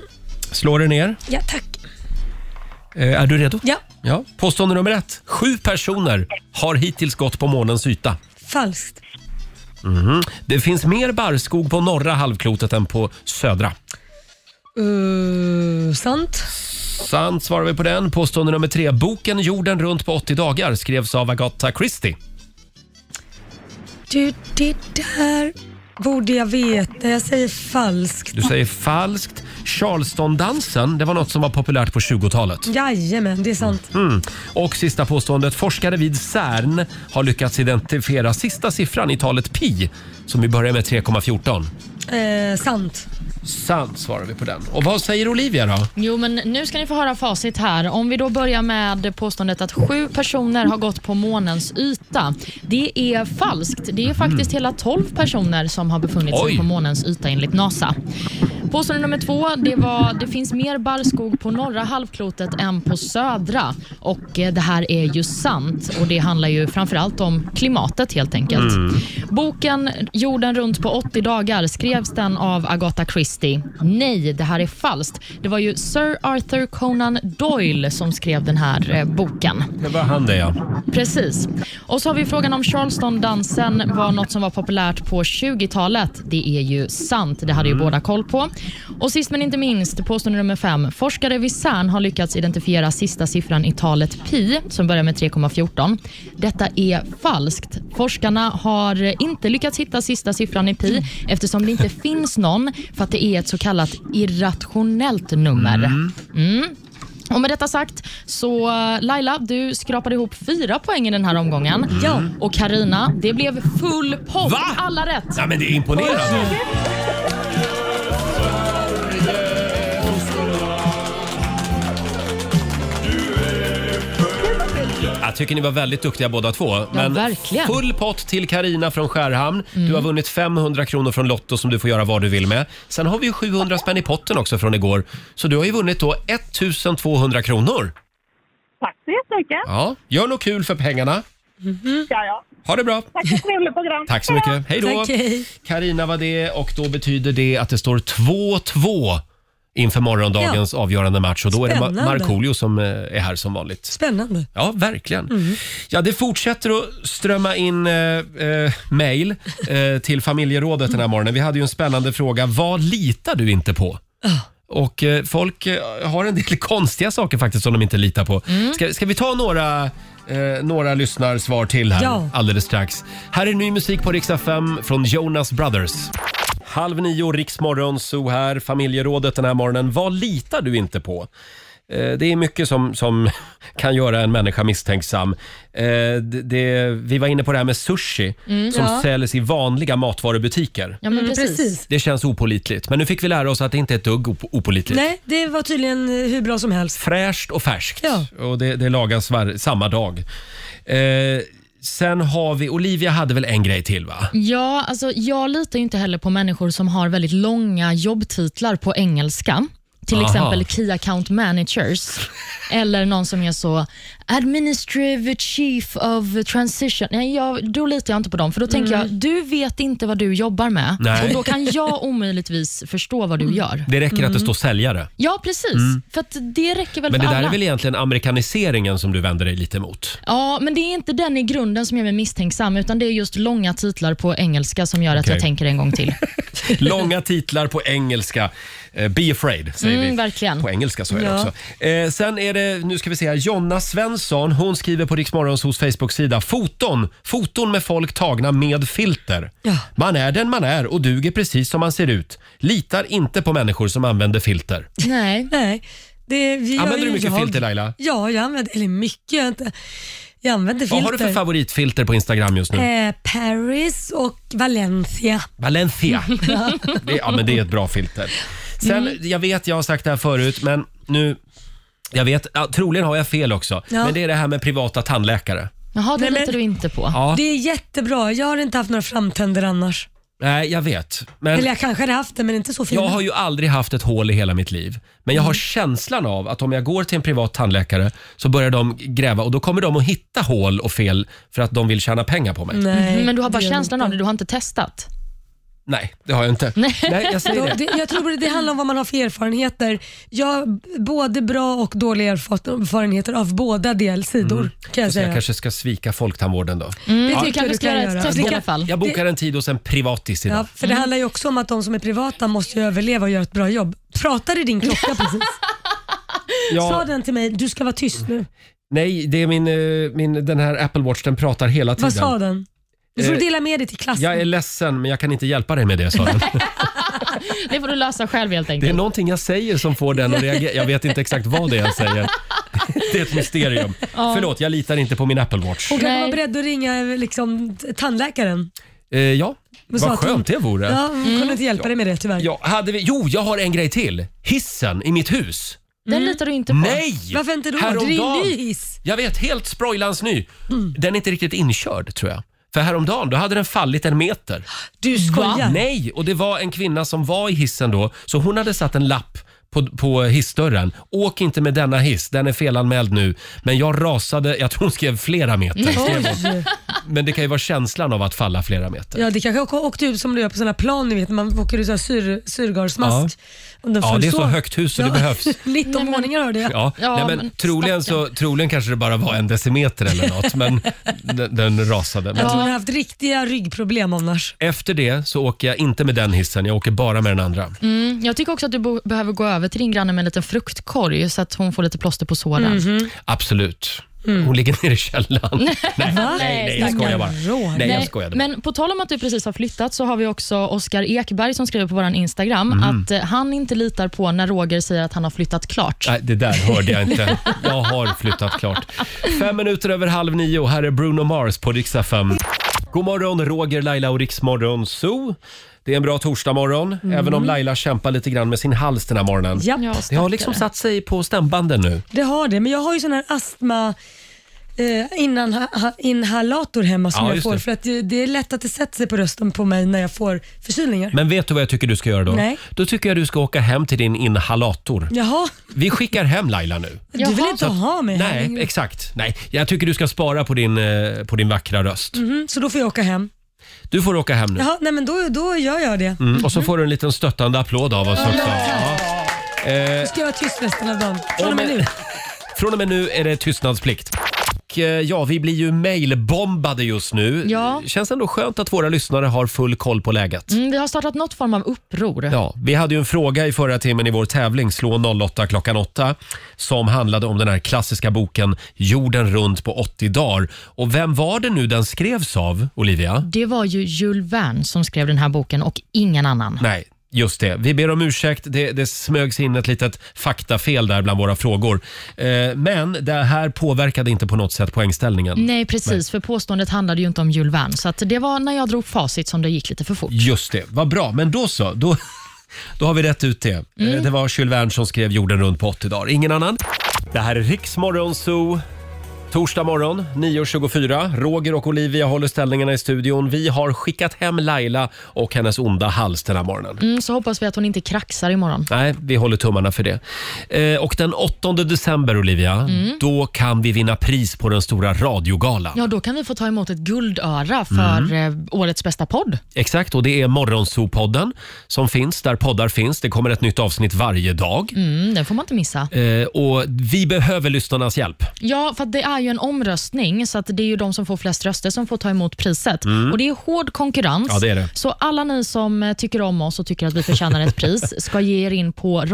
S1: Slå dig ner.
S2: Ja, tack.
S1: Eh, Är du redo?
S2: Ja.
S1: ja. Påstående nummer ett. Sju personer har hittills gått på månens yta.
S2: Falskt.
S1: Mhm. Det finns mer barrskog på norra halvklotet än på södra.
S2: Uh, sant.
S1: Sant svarar vi på den. Påstående nummer tre. Boken Jorden runt på 80 dagar skrevs av Agatha Christie.
S2: Du, det där borde jag veta. Jag säger falskt.
S1: Du säger falskt. Charlestondansen, det var något som var populärt på 20-talet.
S2: Jajamän, det är sant.
S1: Mm. Och sista påståendet. Forskare vid CERN har lyckats identifiera sista siffran i talet pi som vi börjar med 3,14.
S2: Eh, sant.
S1: Sant svarar vi på den. Och vad säger Olivia då?
S3: Jo, men nu ska ni få höra facit här. Om vi då börjar med påståendet att sju personer har gått på månens yta. Det är falskt. Det är faktiskt hela tolv personer som har befunnit sig
S15: Oj.
S3: på månens yta enligt NASA. Påstående nummer två, det var det finns mer barrskog på norra halvklotet än på södra. Och eh, det här är ju sant. Och det handlar ju framförallt om klimatet helt enkelt.
S15: Mm.
S3: Boken Jorden runt på 80 dagar skrevs den av Agatha Christie. Nej, det här är falskt. Det var ju Sir Arthur Conan Doyle som skrev den här eh, boken.
S1: Det var han det ja.
S3: Precis. Och så har vi frågan om Charleston-dansen var något som var populärt på 20-talet. Det är ju sant. Det hade ju båda koll på. Och sist men inte minst, påstående nummer fem. Forskare vid CERN har lyckats identifiera sista siffran i talet pi, som börjar med 3,14. Detta är falskt. Forskarna har inte lyckats hitta sista siffran i pi eftersom det inte finns någon för att det är ett så kallat irrationellt nummer.
S15: Mm.
S3: Mm. Och med detta sagt så eh, Laila, du skrapade ihop fyra poäng i den här omgången. Ja. Och Karina, det blev full pott.
S1: Mm. Va?
S3: Alla rätt.
S1: Ja, men det är imponerande. Jag tycker ni var väldigt duktiga båda två. men
S3: verkligen.
S1: full pott till Karina från Skärhamn. Du har vunnit 500 kronor från Lotto som du får göra vad du vill med. Sen har vi ju 700 spänn i potten också från igår. Så du har ju vunnit då 1200 kronor.
S14: Tack så jättemycket.
S1: Ja, gör något kul för pengarna.
S14: Ja, ja.
S1: Ha det bra!
S14: Tack för ett trevligt program.
S1: Tack så mycket. Hej då! Karina var det och då betyder det att det står 2-2 inför morgondagens avgörande match och då är det
S2: Spännande.
S1: Ma- Markoolio som eh, är här som vanligt.
S2: Spännande.
S1: Ja, verkligen. Ja, det fortsätter att strömma in eh, eh, mejl eh, till familjerådet den här morgonen. Vi hade ju en spännande fråga. Vad litar du inte på? Och eh, folk eh, har en del konstiga saker faktiskt som de inte litar på. Ska, ska vi ta några, eh, några lyssnarsvar till här
S15: Ja.
S1: alldeles strax? Här är ny musik på Rix FM från Jonas Brothers. Halv nio, Riksmorgon, så här, familjerådet den här morgonen. Vad litar du inte på? Eh, Det är mycket som, som kan göra en människa misstänksam. Eh, Det, det, vi var inne på det här med sushi
S15: Mm.
S1: som
S15: Ja.
S1: säljs i vanliga matvarubutiker.
S3: Ja, men
S2: Mm,
S3: precis.
S1: Det känns opolitligt, men nu fick vi lära oss att det inte är ett dugg op- opolitligt.
S2: Nej, det var tydligen eh, hur bra som helst.
S1: Fräscht och färskt.
S2: Ja.
S1: Och det, det lagas var, samma dag. Eh, sen har vi... Olivia hade väl en grej till, va?
S3: Ja, alltså jag litar ju inte heller på människor som har väldigt långa jobbtitlar på engelska. Till
S15: Aha.
S3: exempel Key Account Managers eller någon som är så Administrative Chief of Transition. Nej, jag, då litar jag inte på dem, för då tänker
S15: Mm.
S3: jag, du vet inte vad du jobbar med
S1: Nej.
S3: och då kan jag omöjligtvis förstå vad du gör.
S1: Det räcker att det
S3: Mm.
S1: står säljare.
S3: Ja, precis.
S1: Mm.
S3: För att det räcker väl
S1: Men det
S3: för
S1: där
S3: alla.
S1: är väl egentligen amerikaniseringen som du vänder dig lite emot?
S3: Ja, men det är inte den i grunden som gör mig misstänksam, utan det är just långa titlar på engelska som gör att
S1: Okej.
S3: jag tänker en gång till.
S1: Långa titlar på engelska. Eh, Be afraid, säger
S3: Mm,
S1: vi.
S3: verkligen.
S1: På engelska så är det
S3: Ja.
S1: också. Eh, sen är det, nu ska vi se här, Jonna Svensson. Hon skriver på Riksmorgons hos Facebook-sida. Foton, foton med folk tagna med filter. Man är den man är och duger precis som man ser ut. Litar inte på människor som använder filter.
S3: Nej.
S2: Nej. Det, vi gör
S1: Använder
S2: ju
S1: du mycket
S2: jag.
S1: filter, Laila?
S2: Ja, jag använder, eller mycket gör jag inte. Jag använder filter.
S1: Vad har du för favoritfilter på Instagram just nu?
S2: Eh, Paris och Valencia.
S1: Valencia.
S2: Ja.
S1: Det, ja, men det är ett bra filter. Sen, Jag vet, jag har sagt det här förut, men nu... Jag vet, ja, troligen har jag fel också,
S2: Ja.
S1: men det är det här med privata tandläkare.
S3: Jaha, det
S2: Nej, men-
S3: litar du inte på.
S1: Ja.
S2: Det är jättebra. Jag har inte haft några framtänder annars.
S1: Nej, jag vet. Men
S2: Eller jag kanske hade haft det, men inte så fina.
S1: jag har ju aldrig haft ett hål i hela mitt liv. Men jag har känslan av att om jag går till en privat tandläkare så börjar de gräva och då kommer de att hitta hål och fel för att de vill tjäna pengar på mig.
S2: Mm.
S3: Mhm, men du har bara
S2: det gör jag
S3: känslan av det, du har inte testat.
S1: Nej, det har jag inte. Nej, jag säger
S2: Då-
S1: det.
S2: det, jag tror det handlar om vad man har för erfarenheter. Jag har både bra och dåliga erfa- erfarenheter av båda delsidor. Kan jag
S1: Så jag
S2: säga.
S1: Mm. kanske ska svika folktandvården då.
S3: Mm.
S2: Det
S1: Ja.
S2: tycker jag du kan göra.
S1: Jag
S2: Det
S1: bo-
S2: kan-
S1: Jag bokar en tid hos en privatis idag.
S2: Ja, för det handlar ju också om att de som är privata måste ju överleva och göra ett bra jobb. Pratade din klocka precis?
S1: Ja.
S2: Sa den till mig, du ska vara tyst nu.
S1: Nej, det är min, eh, min, den här Apple Watch, den pratar hela tiden.
S2: Vad sa den? Du får
S1: Eh,
S2: dela med dig till klassen.
S1: Jag är ledsen men jag kan inte hjälpa dig med det sa den.
S3: Det får du lösa själv helt
S1: Det är
S3: enkelt.
S1: någonting jag säger som får den att reagera. Jag vet inte exakt vad det är jag säger. Det är ett mysterium.
S2: Ja.
S1: Förlåt, jag litar inte på min Apple Watch.
S2: Hon kan vara beredd att ringa eh, liksom, t- tandläkaren.
S1: Eh, ja,
S2: Och sa
S1: vad
S2: att hon-
S1: skönt det vore.
S2: Ja, hon kunde inte hjälpa dig med det tyvärr.
S1: Mm. Ja, hade vi, jo, jag har en grej till. Hissen i mitt hus.
S3: Den litar du inte på.
S1: Nej! Häromdagen-
S2: hiss.
S1: Jag vet, helt sproilans ny.
S2: Mm.
S1: Den är inte riktigt inkörd tror jag. För häromdagen då hade den fallit en meter.
S2: Du skojar.
S1: Nej, och det var en kvinna som var i hissen då, så hon hade satt en lapp på, på hissdörren. Åk inte med denna hiss, den är felanmäld nu. Men jag rasade, jag tror hon skrev flera meter. Skrev hon.
S2: Oj.
S1: Men det kan ju vara känslan av att falla flera meter.
S2: Ja, det kanske åkte, åkte ut som du gör på sådana plan, ni vet, när man åker ut sån här syr, syrgasmask. Om den
S1: Ja,
S2: föll
S1: det är så högt hus så det behövs.
S2: 19 våningar hörde jag.
S1: Ja, nej, men troligen, så, troligen kanske det bara var en decimeter eller något, men den, den rasade. Men
S2: Jag tror hon har haft riktiga ryggproblem annars.
S1: Efter det så åker jag inte med den hissen, jag åker bara med den andra.
S3: Mm, jag tycker också att du bo- behöver gå över till din granne med en liten fruktkorg så att hon får lite plåster på såren.
S2: Mhm.
S1: Absolut. Hon ligger nere i källaren. Mm. Nej, nej,
S3: Va?
S1: nej, jag skojar bara. Nej, jag skojade bara.
S3: Men på tal om att du precis har flyttat så har vi också Oskar Ekberg som skriver på vår Instagram
S1: Mm.
S3: att eh, han inte litar på när Roger säger att han har flyttat klart.
S1: Nej, det där hörde jag inte. Jag har flyttat klart. Fem minuter över halv nio. Här är Bruno Mars på Rix FM. God morgon, Roger, Laila och Rix Morgon Zoo. Det är en bra torsdagmorgon,
S2: Mm.
S1: även om Laila kämpar lite grann med sin hals den här morgonen.
S2: Japp. Ja,
S1: det har
S2: stackare.
S1: liksom satt sig på stämbanden nu.
S2: Det har det, men jag har ju sån här astma eh, innan ha, ha, inhalator hemma som
S1: Ja,
S2: jag
S1: just
S2: får.
S1: det.
S2: För att det, det är lätt att det sätter sig på rösten på mig när jag får förkylningar.
S1: Men vet du vad jag tycker du ska göra då?
S2: Nej.
S1: Då tycker jag du ska åka hem till din inhalator.
S2: Jaha,
S1: Vi skickar hem Laila nu.
S2: du vill inte
S1: Så att-
S2: ha mig här?
S1: Nej, exakt. Nej, jag tycker du ska spara på din, eh, på din vackra röst.
S2: Mhm, så då får jag åka hem.
S1: Du får åka hem nu.
S2: Jaha, nej men då, då gör jag det.
S1: Mm, och så får du en liten stöttande applåd av oss också. Ja. Eh,
S2: Nu ska jag vara tyst resten av dagen. Från och med nu.
S1: från och med nu är det tystnadsplikt. Och, eh, Ja, vi blir ju mailbombade just nu.
S3: Ja.
S1: Känns ändå skönt att våra lyssnare har full koll på läget.
S3: Mm, vi har startat något form av uppror.
S1: Ja, vi hade ju en fråga i förra timmen i vår tävling Slå 08 klockan 8 som handlade om den här klassiska boken Jorden runt på 80 dagar. Och vem var det nu den skrevs av, Olivia?
S3: Det var ju Jules Verne som skrev den här boken och ingen annan.
S1: Nej, just det. Vi ber om ursäkt. Det, det smögs in ett litet faktafel där bland våra frågor. Eh, men det här påverkade inte på något sätt poängställningen.
S3: Nej, precis. För påståendet handlade ju inte om Jules Verne. Så att det var när jag drog facit som det gick lite för fort.
S1: Just det. Vad bra. Men då så. Då, då har vi rätt ut det. Eh,
S3: Mm.
S1: Det var Jules Verne som skrev Jorden runt på 80 dagar. Ingen annan. Det här är Riksmorgon Zoo. Torsdag morgon 9.24. Roger och Olivia håller ställningarna i studion. Vi har skickat hem Laila och hennes onda hals den här morgonen.
S3: Mm, så hoppas vi att hon inte kraxar imorgon.
S1: Nej, vi håller tummarna för det. Eh, och den 8 december, Olivia,
S3: Mm.
S1: då kan vi vinna pris på den stora radiogalan.
S3: Ja, då kan vi få ta emot ett guldöra för eh, årets bästa podd.
S1: Exakt, och det är Morgonzoo-podden som finns där poddar finns. Det kommer ett nytt avsnitt varje dag.
S3: Mm, den får man inte missa.
S1: Eh, och vi behöver lyssnarnas hjälp.
S3: Ja, för att det är ju en omröstning, så att det är ju de som får flest röster som får ta emot priset.
S1: Mm.
S3: Och Det är hård konkurrens.
S1: Ja, det är det.
S3: Så alla ni som eh, tycker om oss och tycker att vi förtjänar ett pris ska ge er in på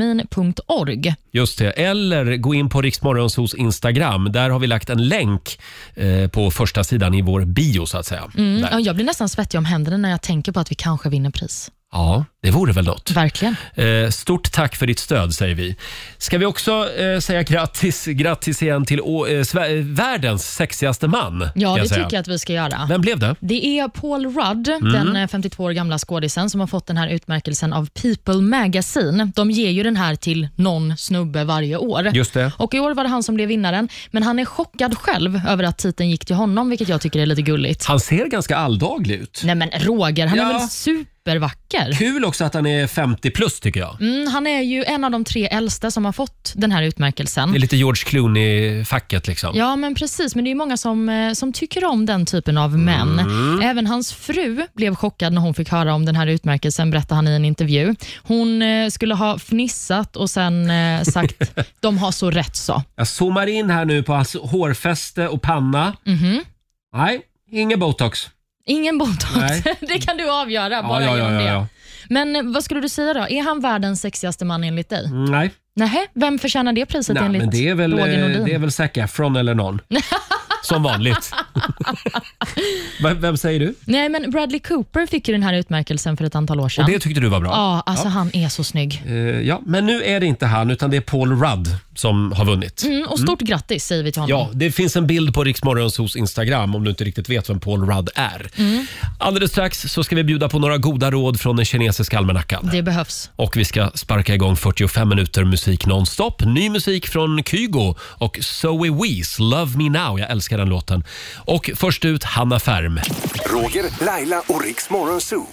S3: radioakademin.org.
S1: Just det. Eller gå in på Riksmorgonsos Instagram. Där har vi lagt en länk eh, på första sidan i vår bio, så att säga.
S3: Mm.
S1: Där.
S3: ja, Jag blir nästan svettig om händerna när jag tänker på att vi kanske vinner pris.
S1: Ja, det vore väl något.
S3: Verkligen.
S1: Eh, Stort tack för ditt stöd säger vi. Ska vi också eh, säga grattis, grattis igen till å, eh, Sve- eh, världens sexigaste man? kan
S3: Ja, det
S1: säga.
S3: tycker jag att vi ska göra.
S1: Vem blev det?
S3: Det är Paul Rudd,
S1: Mm.
S3: den eh, 52 år gamla skådisen som har fått den här utmärkelsen av People Magazine. De ger ju den här till någon snubbe varje år.
S1: Just det.
S3: Och I år var det han som blev vinnaren, men han är chockad själv över att titeln gick till honom, vilket jag tycker är lite gulligt.
S1: Han ser ganska alldaglig ut.
S3: Nej men Roger, han är
S1: Ja.
S3: väl supervacker?
S1: Kul också att han är 50 plus tycker jag.
S3: Mm, han är ju en av de tre äldsta som har fått den här utmärkelsen.
S1: Det är lite George Clooney-facket liksom.
S3: Ja, men precis. Men det är ju många som, eh, som tycker om den typen av män.
S1: Mm.
S3: Även hans fru blev chockad när hon fick höra om den här utmärkelsen, berättade han i en intervju. Hon eh, skulle ha fnissat och sen eh, sagt de har så rätt så.
S1: Jag zoomar in här nu på hans hårfäste och panna.
S3: Mhm.
S1: Nej, ingen botox.
S3: Ingen botox.
S1: Nej.
S3: det kan du avgöra bara genom det. Men eh, vad skulle du säga då? Är han världens sexigaste man enligt dig?
S1: Nej,
S3: Nej, vem förtjänar det priset
S1: Nej
S3: Typ enligt
S1: men det är, väl, eh,
S3: Roger Nordin?
S1: det är väl Zac Efron eller någon som vanligt. Vem- Vem säger du?
S3: Nej, men Bradley Cooper fick ju den här utmärkelsen för ett antal år sedan.
S1: Och det tyckte du var bra?
S3: Ja, alltså
S1: Ja.
S3: han är så snygg.
S1: Eh, ja, men nu är det inte han utan det är Paul Rudd som har vunnit.
S3: Mm, och stort grattis säger vi till honom.
S1: Ja, det finns en bild på Riksmorgonsos Instagram om du inte riktigt vet vem Paul Rudd är.
S3: Mm,
S1: Alldeles strax så ska vi bjuda på några goda råd från den kinesiska almanackan.
S3: det behövs.
S1: Och vi ska sparka igång 45 minuter musik nonstop. Ny musik från Kygo och Zoe Wees, Love Me Now. Jag älskar den låten. Och först ut Hanna Färm.
S13: Roger, Laila och Riks Morgonzoo.